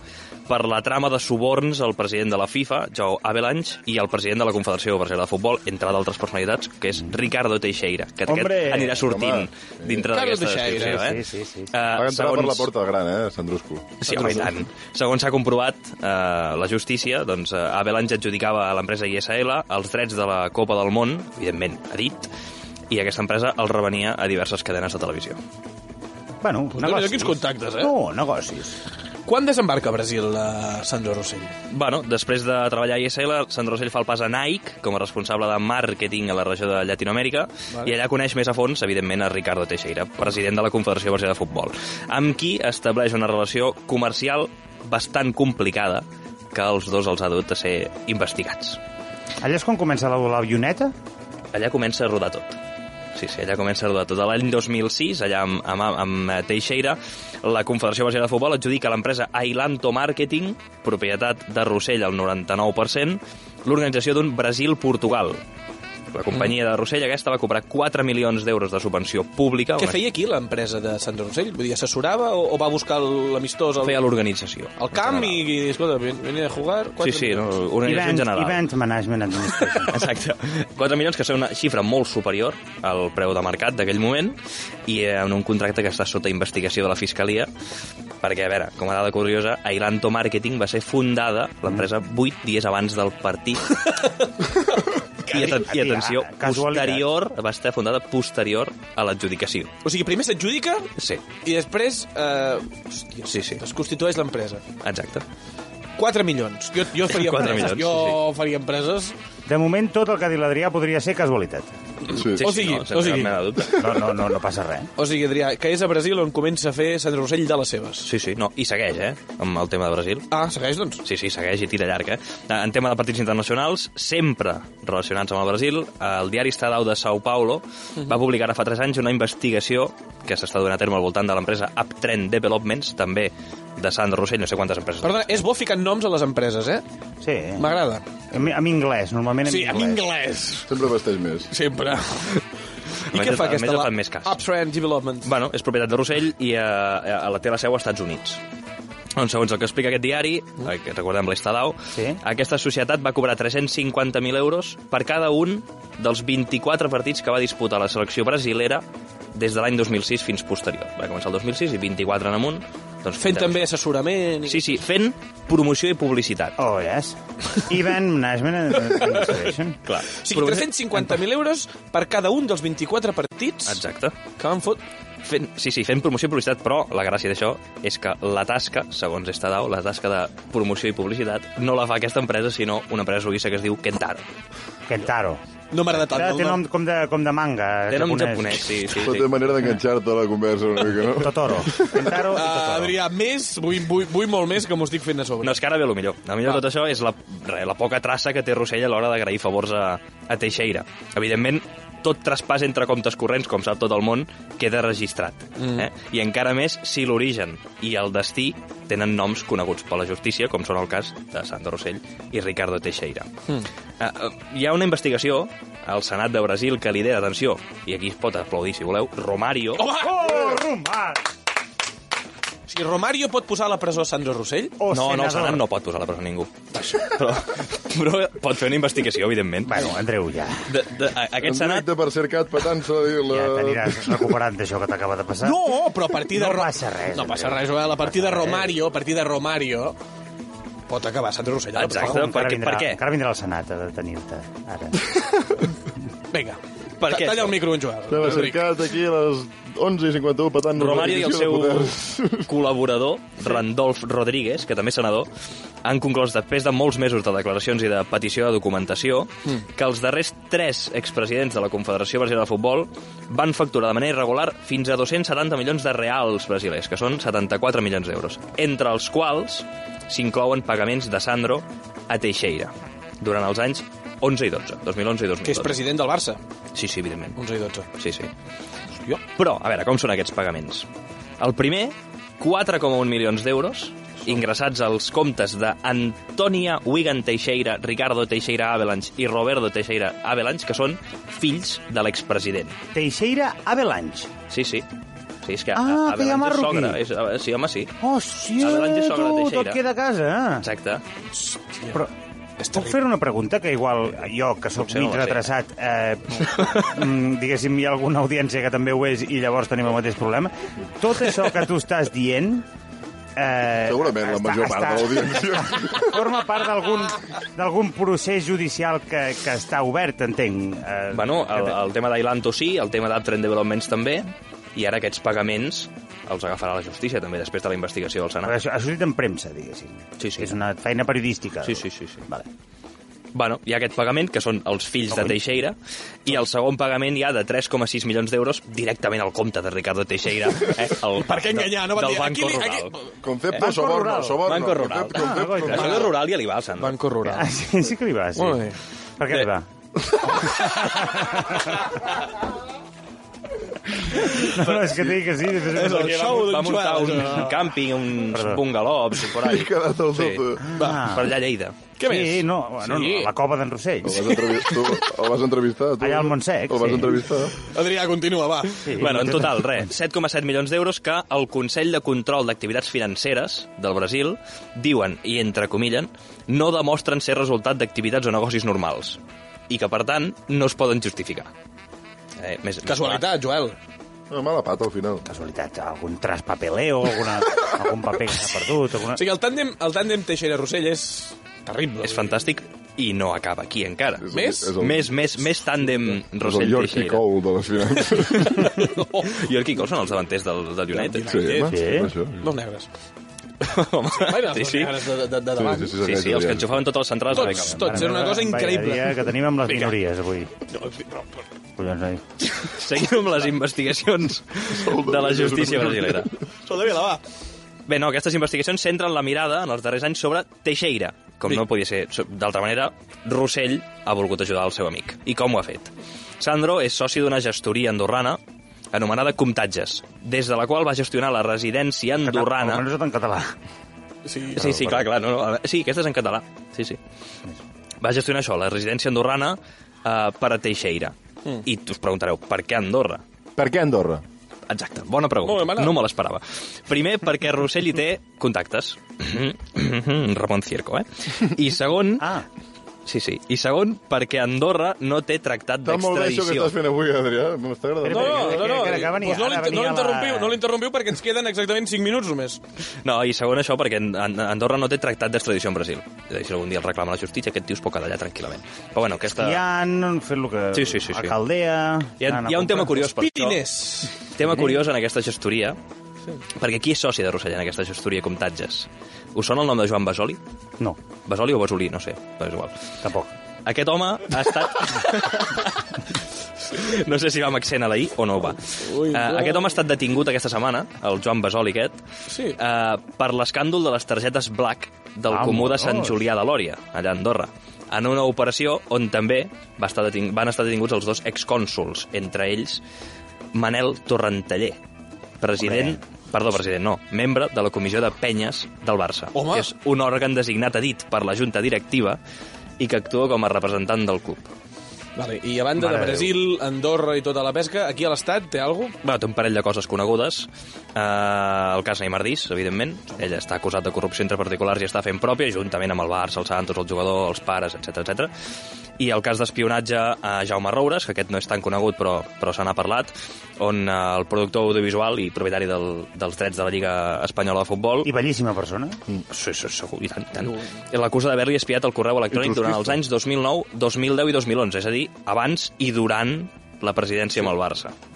S11: per la trama de suborns al president de la FIFA, Joe Avalanche, i al president de la Confederació Brasileira de Futbol, entre d'altres personalitats, que és Ricardo Teixeira, que aquest
S12: Hombre,
S11: anirà sortint
S12: home.
S11: dintre
S12: Ricardo
S11: d'aquesta
S12: Teixeira.
S11: descripció, eh?
S12: Sí, sí, sí, sí.
S11: Eh,
S12: Va entrar per la porta gran, eh, Sandrusco.
S11: Sí, home, i tant. Segons s'ha comprovat eh, la justícia, doncs, eh, Avalanche adjudicava a l'empresa ISL els drets de la Copa del Món, evidentment, a dit, i aquesta empresa els revenia a diverses cadenes de televisió.
S3: Bueno,
S10: Pues Déu-n'hi-do quins contactes, eh?
S3: No, negocis.
S10: Quan desembarca a Brasil eh, Sandro Rossell?
S11: Bueno, després de treballar a ISL, Sandro Rossell fa el pas a Nike com a responsable de màrqueting a la regió de Llatinoamèrica
S10: Vale.
S11: vale. i allà coneix més a fons, evidentment, a Ricardo Teixeira, president de la Confederació Brasileira de Futbol, amb qui estableix una relació comercial bastant complicada que els dos els ha dut a ser investigats.
S3: Allà és quan comença la, l'avioneta?
S11: Allà comença a rodar tot. Sí, sí, allà comença a rodar tot. L'any 2006, allà amb, amb, amb eh, Teixeira, la Confederació Brasileira de Futbol adjudica a l'empresa Ailanto Marketing, propietat de Rossell al 99%, l'organització d'un Brasil-Portugal, La
S10: Mm.
S11: companyia de Rossell aquesta va cobrar 4 milions d'euros de subvenció pública.
S10: Què feia aquí l'empresa de Sant Rosell? Vull dir, assessorava o, o va buscar el- l'amistós al,
S11: Feia l'organització.
S10: al camp i, i, escolta, ven- venia a jugar...
S11: Sí,
S10: quatre
S11: sí, no,
S10: minuts.
S11: organització en general.
S3: Event Management Administration.
S11: Exacte. 4 milions, que són una xifra molt superior al preu de mercat d'aquell moment i eh, en un contracte que està sota investigació de la Fiscalia perquè, a veure, com a dada curiosa, Ailanto Marketing va ser fundada, l'empresa, 8 dies abans del partit. I, aten I atenció,
S10: Casualitat.
S11: posterior, va estar fundada posterior a l'adjudicació.
S10: O sigui, primer s'adjudica
S11: Sí.
S10: i després eh, hòstia, sí, sí. es constitueix l'empresa.
S11: Exacte.
S10: 4 milions. Jo, jo faria
S3: Quatre
S10: empreses.
S3: milions,
S10: jo faria empreses.
S3: De moment, tot el que ha dit l'Adrià podria ser casualitat.
S10: Sí, sí, O sigui, no, sense o sigui. cap mena de dubte.
S3: No, no, no, no passa res.
S10: O sigui, Adrià, que és a Brasil on comença a fer Sant Rosell de les seves.
S11: Sí, sí, no, i segueix, eh, amb el tema de Brasil.
S10: Ah, segueix, doncs?
S11: Sí, sí, segueix i tira llarg, eh. En tema de partits internacionals, sempre relacionats amb el Brasil, el diari Estadau de São Paulo va publicar ara fa 3 anys una investigació que s'està donant a terme al voltant de l'empresa Uptrend Developments, també de Sandro Rossell, no sé quantes empreses.
S10: Perdona, és bo ficant noms a les empreses, eh?
S3: Sí.
S10: M'agrada.
S3: En, en anglès, normalment en
S10: Sí, en anglès.
S12: Sempre vesteix més.
S10: Sempre. I
S11: Almenys
S10: què
S11: et-
S10: fa
S11: almenys
S10: aquesta?
S11: et
S10: la-
S11: fan més cas.
S10: Uptrend Development.
S11: Bueno, és propietat de Rossell i eh, a la té la seu als Estats Units. Doncs, segons el que explica aquest diari, eh, que recordem l'Estadau, sí. aquesta societat va cobrar 350.000 euros per cada un dels 24 partits que va disputar la selecció brasilera des de l'any 2006 fins posterior. Va començar el 2006 i 24 en amunt. Doncs
S10: Fent també assessorament...
S11: Sí, sí, fent promoció i publicitat.
S3: Oh, yes. Event Management Administration.
S11: Clar.
S10: O sigui, 350.000 euros per cada un dels 24 partits
S11: Exacte.
S10: que van fot...
S11: Fent, sí, sí, fent promoció i publicitat, però la gràcia d'això és que la tasca, segons Estadau, la tasca de promoció i publicitat no la fa aquesta empresa, sinó una empresa suïssa que es diu Kentaro.
S3: Kentaro.
S10: No m'agrada tant,
S3: Té
S10: no?
S3: nom com de, com de manga.
S11: Té nom japonès, sí, sí,
S12: Però té manera d'enganxar-te a la conversa una mica, no?
S3: Totoro.
S10: Uh, Adrià, més, vull, vull, vull molt més que m'ho estic fent a sobre.
S11: No, és que ara ve el millor. El millor de tot això és la, re, la poca traça que té Rossell a l'hora d'agrair favors a, a Teixeira. Evidentment, tot traspàs entre comptes corrents, com sap tot el món, queda registrat.
S10: Mm.
S11: Mm. Eh? I encara més si l'origen i el destí tenen noms coneguts per la justícia, com són el cas de Sandro Rossell i Ricardo Teixeira. Eh, eh, hi ha una investigació al Senat de Brasil que lidera, atenció, i aquí es pot aplaudir si voleu, Romario...
S10: Home!
S3: Oh, Romar!
S10: O sigui, Romario pot posar a la presó Sandro Rossell?
S11: no, no, el Senat no pot posar a la presó a ningú. Però, però pot fer una investigació, evidentment.
S3: Bueno, Andreu, ja.
S11: De, de, a,
S12: En
S11: aquest Senat...
S12: directe per cercat petant-se a dir la...
S3: Ja t'aniràs recuperant d'això que t'acaba de passar.
S10: No, però a partir de...
S3: No
S10: Ro-
S3: passa res, Eh?
S10: No passa
S3: Andreu.
S10: res, Joel. A partir de
S3: No passa res.
S10: Romario, a partir de Romario, pot acabar Sandro Rossell. a la presó.
S3: Encara vindrà- Encara vindrà al Senat a detenir-te, ara.
S10: Vinga.
S11: Per
S10: Ta-
S11: què,
S10: Talla
S11: això?
S10: el micro, en Joel.
S12: Estava cercat aquí a les 11 i 51 petant... la
S11: Romario i el
S12: repetició
S11: seu Eh,
S12: de poders.
S11: col·laborador, Randolph Rodríguez, que també és senador, han conclòs després de molts mesos de declaracions i de petició de documentació
S10: Mm.
S11: que els darrers tres expresidents de la Confederació Brasilera de Futbol van facturar de manera irregular fins a 270 milions de reals brasilers, que són 74 milions d'euros, entre els quals s'inclouen pagaments de Sandro a Teixeira durant els anys 11 i 12, 2011 i 2012.
S10: Que és president del Barça.
S11: Sí, sí, evidentment.
S10: 11 i 12.
S11: Sí, sí. Però, a veure, com són aquests pagaments? El primer, 4,1 milions d'euros ingressats als comptes d'Antonia Wigan Teixeira, Ricardo Teixeira Avalanche i Roberto Teixeira Avalanche, que són fills de l'expresident.
S3: Teixeira Avalanche.
S11: Sí, sí. Sí, és que
S3: Ah,
S11: a-
S3: que hi
S11: Avalanche
S3: ha
S11: és
S3: marroquí.
S11: sogra. És, a- sí, home, sí.
S3: Hòstia,
S11: Avalanche és sogra de
S3: tu,
S11: Teixeira.
S3: tot queda a casa.
S11: Exacte.
S3: Però puc fer una pregunta que igual jo, que sóc
S11: Potser no
S3: mig
S11: la sé.
S3: retrasat, eh, mm, diguéssim, hi ha alguna audiència que també ho és i llavors tenim el mateix problema. Tot això que tu estàs dient... Eh,
S12: Segurament la major part de
S3: l'audiència. Forma part d'algun d'algun procés judicial que, que està obert, entenc. Eh,
S11: Bueno, el, el tema d'Ailanto sí, el tema d'Uptrend Developments també, i ara aquests pagaments els agafarà la justícia també després de la investigació del
S3: Però
S11: Senat.
S3: això ha sortit en premsa, diguéssim.
S11: Sí, sí.
S3: És una feina periodística.
S11: Sí, sí, sí. sí.
S3: Vale.
S11: Bueno, hi ha aquest pagament, que són els fills de Teixeira, i el segon pagament hi ha de 3,6 milions d'euros directament al compte de Ricardo Teixeira. Eh, el,
S10: Per què enganyar? No van
S11: del
S10: dir, aquí
S11: Banco
S10: li- aquí-
S11: Rural.
S12: Concepte,
S11: Banco
S12: soborno,
S11: Rural.
S12: soborno.
S11: Banco Rural.
S12: Concepte, concepte,
S11: Ah,
S12: concepte.
S11: Això de Rural ja li va, Sandro.
S10: Banco Rural.
S3: Ah, sí, sí que li va, sí.
S10: Molt bé.
S3: Per què li va? No, no, és que t'he dit que sí. Després
S10: És el show
S11: Doncs va,
S10: d'un
S11: muntar
S10: Joan,
S11: un
S10: això.
S11: càmping, uns bungalows, per allà.
S12: He quedat al
S11: sí.
S3: Va.
S11: Per allà a Lleida.
S3: Què sí, més? No, bueno, sí. no, la cova d'en Rossell.
S12: El vas, entrevistar, tu, el vas entrevistar, tu.
S3: Allà al Montsec,
S12: El vas
S3: sí.
S12: entrevistar.
S10: Adrià, continua, va.
S11: Sí, bueno, en total, res, 7,7 milions d'euros que el Consell de Control d'Activitats Financeres del Brasil diuen, i entre comillen, no demostren ser resultat d'activitats o negocis normals i que, per tant, no es poden justificar. Eh, més,
S10: Casualitat, Joel.
S12: Una mala pata, al final.
S3: Casualitat, algun traspapeleo, alguna, algun paper que s'ha perdut. Alguna...
S10: O sigui, el tàndem, el tàndem Teixeira-Rossell és terrible.
S11: És fantàstic i no acaba aquí encara.
S12: És el-
S11: més?
S12: és el-
S11: Més, més, més tàndem
S12: És el
S11: Rossell
S12: Yorkie
S11: Teixeira.
S12: Cole de les finances.
S11: York Oh, i Cole són els davanters del, del United.
S12: Sí, home, sí. per això.
S10: Dos negres.
S11: Home,
S10: Bueno,
S11: sí,
S10: els
S11: sí.
S10: negres de, de, de, de davant.
S11: Sí, sí, sí, sí, els que enxufaven totes les centrals.
S10: Tots, tots, era una cosa increïble.
S3: Vaya dia que tenim amb les
S11: Vinga.
S3: minories, avui. Collons, noi.
S11: Seguim amb les investigacions de la justícia brasilera.
S10: Soldevila, va.
S11: Bé, no, aquestes investigacions centren la mirada en els darrers anys sobre Teixeira, com no podia ser so- d'altra manera, Rossell ha volgut ajudar el seu amic. I com ho ha fet? Sandro és soci d'una gestoria andorrana anomenada Comptatges, des de la qual va gestionar la residència andorrana...
S3: Almenys en català.
S10: Sí,
S11: sí, sí clar, clar. No, no, eh, sí, aquesta és en català. Sí, sí. Va gestionar això, la residència andorrana eh, per a Teixeira.
S12: Mm.
S11: I us preguntareu, per què Andorra?
S12: Per què Andorra?
S11: Exacte, bona pregunta.
S12: Molt bé, m'agrada.
S11: no me l'esperava. Primer, perquè Rossell hi té contactes. Ramon Cierco, eh? I segon... Ah. Sí, sí. I segon, perquè Andorra no té tractat
S12: Està molt bé això que
S11: d'extradició.
S12: estàs fent avui, Adrià. M'està agradant.
S10: No, no, no, no,
S3: que ara venia-
S10: doncs no,
S3: ara
S10: l'inter- no
S3: venia la-
S10: l'interrompiu, no l'interrompiu perquè ens queden exactament 5 minuts només.
S11: No, i segon això, perquè An- An- Andorra no té tractat d'extradició en Brasil. És a dir, si algun dia el reclama la justícia, aquest tio es pot quedar allà tranquil·lament. Però bueno, aquesta...
S3: I han fet el que...
S11: Sí, sí, sí, sí.
S3: A Caldea...
S11: Hi ha,
S3: anant
S11: hi
S3: a
S11: ha un tema curiós
S3: comprar.
S11: per això. Tema curiós en aquesta gestoria, perquè qui és soci de Rossell en aquesta gestoria Comptatges? Us sona el nom de Joan Basoli?
S3: No.
S11: Basoli o Basolí, no sé, però és igual.
S3: Tampoc.
S11: Aquest home ha estat... no sé si va amb accent a la I o no ho va. Ui,
S10: no.
S11: Aquest home ha estat detingut aquesta setmana, el Joan Basoli aquest,
S10: Sí.
S11: uh, per l'escàndol de les targetes Black del
S3: Vamos.
S11: Comú de Sant Julià de Lòria, allà a Andorra en una operació on també va estar deting van estar detinguts els dos excònsuls, entre ells Manel Torrantaller, president... Perdó, president, no. Membre de la comissió de penyes del Barça. Home. És un òrgan designat a dit per la junta directiva i que actua com a representant del club.
S10: Vale, I a banda
S11: Mare
S10: de
S11: de
S10: Brasil, Andorra i tota la pesca, aquí a l'Estat té alguna cosa?
S11: Bé, té un parell de coses conegudes. Uh, el cas Neymar Dís, evidentment. Ell està acusat de corrupció entre particulars i està fent pròpia, juntament amb el Barça, el Santos, el jugador, els pares, etc etc. I el cas d'espionatge a Jaume Roures, que aquest no és tan conegut però, però se n'ha parlat, on eh, el productor audiovisual i propietari del, dels drets de la Lliga Espanyola de Futbol...
S3: I bellíssima persona.
S12: Mm.
S11: Sí, sí, segur, i tant, i tant. L'acusa d'haver-li espiat el correu electrònic durant els anys 2009, 2010 i 2011, és a dir, abans i durant la presidència amb el Barça.
S12: Ah.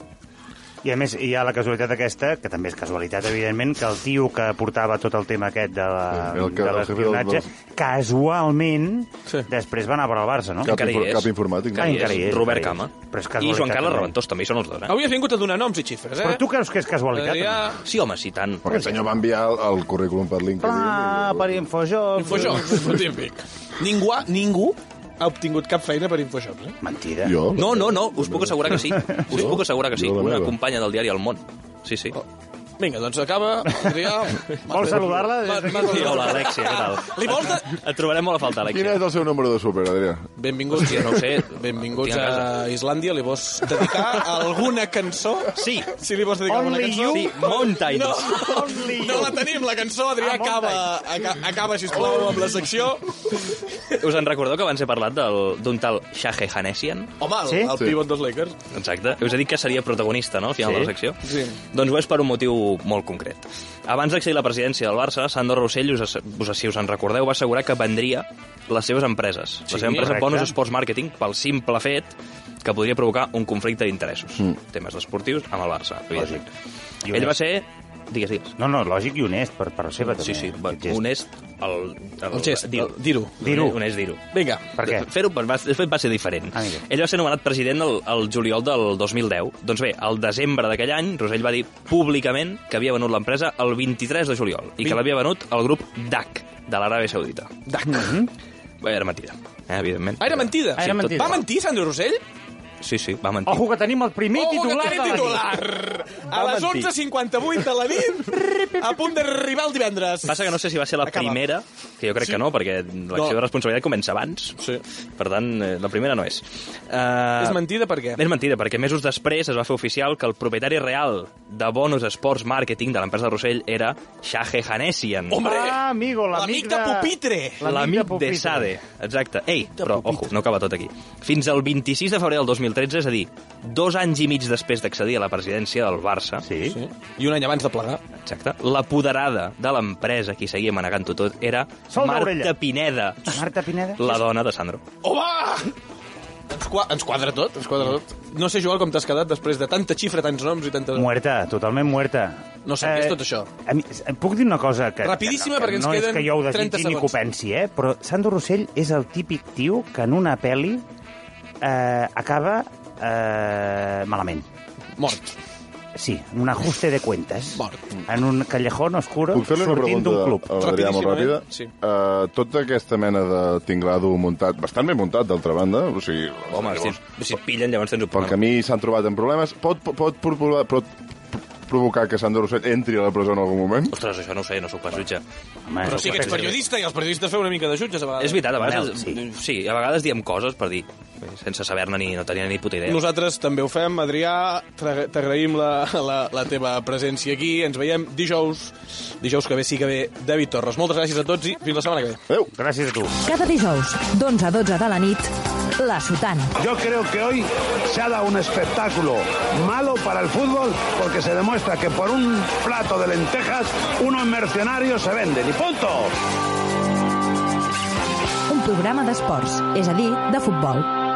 S3: I a més, hi ha la casualitat aquesta, que també és casualitat, evidentment, que el tio que portava tot el tema aquest de la-
S12: Sí, el que-
S3: de
S12: el jefe del-
S3: l'espionatge,
S12: del-
S3: casualment, després va anar a veure el Barça, no?
S12: Cap Encara hi infor- és. cap informàtic, no?
S3: Ah, encara hi és.
S11: Robert
S3: encara hi
S11: Cama.
S3: és. Però és
S11: I
S3: casualitat
S11: Joan Carles
S3: també.
S11: Reventós, també hi són els dos, eh?
S10: Avui has vingut a donar noms i xifres, eh?
S3: Però tu creus que és casualitat?
S10: Adrià...
S11: Sí, home, sí, tant.
S12: Perquè el senyor va enviar el, el currículum per LinkedIn.
S3: Ah, per Infojobs.
S10: Infojobs, no típic. Ningú, ha- ningú ha obtingut cap feina per Infojobs, eh?
S3: Mentida.
S12: Jo?
S11: No, no, no, us puc assegurar que sí. Us puc assegurar que sí.
S12: Jo la
S11: Una
S12: meva. Oh.
S11: companya del diari El Món. Sí, sí.
S10: Vinga, doncs acaba, Adrià...
S3: Vols saludar-la?
S10: Va- va-
S11: Sí, hola, Alexia, què tal?
S10: Li vols de...
S11: Et trobarem molt a faltar,
S12: Quin
S11: Alexia.
S12: és el seu número de súper, Adrià?
S10: Benvinguts,
S11: Hòstia, no ho sé.
S10: Benvinguts
S11: Tinc a
S10: a Islàndia. Li vols dedicar alguna cançó?
S11: Sí.
S10: Si li vols dedicar alguna
S11: Only
S10: cançó?
S11: you? Sí, Mountains.
S10: No,
S11: Only
S10: no
S11: you.
S10: la tenim, la cançó. Adrià
S11: Ah,
S10: acaba, aca, acaba, sisplau, amb la secció.
S11: Us en recordeu que abans he parlat del- d'un tal Shahe Hanessian?
S10: Home, el, el pivot dels Lakers.
S11: Exacte. Us he dit que seria protagonista, no?, al final
S10: Sí.
S11: de la secció.
S10: Sí.
S11: Doncs ho és per un motiu molt concret. Abans d'accedir a la presidència del Barça, Sandro Rossell, us, ass- us, si us en recordeu, va assegurar que vendria les seves empreses.
S10: Sí,
S11: la seva empresa
S10: correcte.
S11: Bonus Sports Marketing pel simple fet que podria provocar un conflicte d'interessos.
S3: Mm.
S11: Temes esportius amb el Barça, evidentment.
S3: I
S11: Ell va
S3: honest.
S11: ser... Digues, digues.
S3: No, no, lògic i honest, per, per la seva, també.
S11: Sí, sí, va,
S3: Aquest gest.
S11: honest el, el,
S10: El gest,
S11: dir-ho.
S10: el- dir-ho.
S3: Dir-ho.
S11: Honest dir-ho.
S10: Vinga.
S3: Per què?
S11: Fer-ho, però va, després va ser diferent.
S3: Ah, mira.
S11: Ell va ser nomenat president el, el juliol del 2010. Doncs bé, al desembre d'aquell any, Rosell va dir públicament que havia venut l'empresa el 23 de juliol i
S10: Vint-
S11: que l'havia venut al grup DAC, de l'Aràbia Saudita. Mm-hmm.
S10: DAC.
S11: Bé, era mentida, eh, evidentment.
S10: Ah, era mentida. Oh,
S11: Ah, era mentida.
S10: Va mentir, Sandro Rossell?
S4: Sí, sí, va mentir.
S3: Ojo, que tenim el primer
S10: Ojo, que
S3: titular
S10: tenim
S3: de la
S10: titular! A
S3: Va
S10: les
S3: mentir.
S10: 11.58 de la nit, a punt d'arribar el divendres.
S11: Passa que no sé si va ser la primera, que jo crec
S10: Sí.
S11: que no, perquè l'acció
S10: No.
S11: de responsabilitat comença abans.
S10: Sí.
S11: Per tant, eh, la primera no és. Uh,
S10: És mentida per què?
S11: És mentida, perquè mesos després es va fer oficial que el propietari real de Bonus Sports Marketing de l'empresa Rossell era Shahe Hanessian.
S10: eh,
S3: Ah, amigo, l'amic de...
S11: L'amic de Sade. Exacte. Ei, però, ojo, no acaba tot aquí. Fins al 26 de febrer del 2013, és a dir, dos anys i mig després d'accedir a la presidència del Barça... Sí. sí.
S10: I un any abans de plegar.
S11: Exacte. L'apoderada de l'empresa, qui seguia manegant-ho tot, era
S3: Sol d'Orella.
S11: Marta Pineda,
S3: Marta Pineda.
S11: la dona de Sandro.
S10: Home! Ens, qua ens quadra tot, ens quadra tot. No sé, Joel, com t'has quedat després de tanta xifra, tants noms i tantes...
S3: Muerta, totalment muerta. Eh,
S10: No sé, què és tot això?
S3: A mi, em puc dir una cosa que...
S10: Rapidíssima,
S3: que no,
S10: perquè ens
S3: no
S10: queden
S3: és que jo ho
S10: 30
S3: desitgi ni
S10: segons.
S3: que ho pensi, eh? Però Sandro Rossell és el típic tio que en una pel·li eh, acaba eh, malament.
S10: Mort.
S3: Sí, un ajuste de cuentas. Mort. En un callejón oscuro
S12: Puc fer-li una
S3: sortint
S12: pregunta
S3: d'un club.
S12: a l'Adrià molt ràpida?
S10: Sí.
S12: Uh, tota aquesta mena de tinglado muntat, bastant ben muntat, d'altra banda, o sigui...
S11: Home, si, si et pillen, llavors tens un
S12: Pel
S11: problema.
S12: camí s'han trobat en problemes. Pot, pot, pot, pot provocar que Sandro Rosset entri a la presó en algun moment?
S11: Ostres, això no ho sé, no sóc pas jutge.
S10: Però sí que ets periodista i els periodistes feu una mica de jutges a vegades.
S11: És veritat, a vegades,
S10: Manel,
S11: sí. sí, a vegades diem coses per dir, sense saber-ne ni, no tenia ni puta idea.
S10: Nosaltres també ho fem, Adrià, t'agra- t'agraïm la, la, la teva presència aquí, ens veiem dijous, dijous que ve sí que ve David Torres. Moltes gràcies a tots i fins la setmana que ve.
S12: Adéu.
S3: Gràcies a tu.
S1: Cada dijous, d'11 a 12 de la nit, La Sotana.
S2: Yo creo que hoy se ha dado un espectáculo malo para el fútbol porque se demuestra que por un plato de lentejas unos mercenarios se venden. ¡Y punto!
S1: Un programa d'esports, és a dir, de futbol.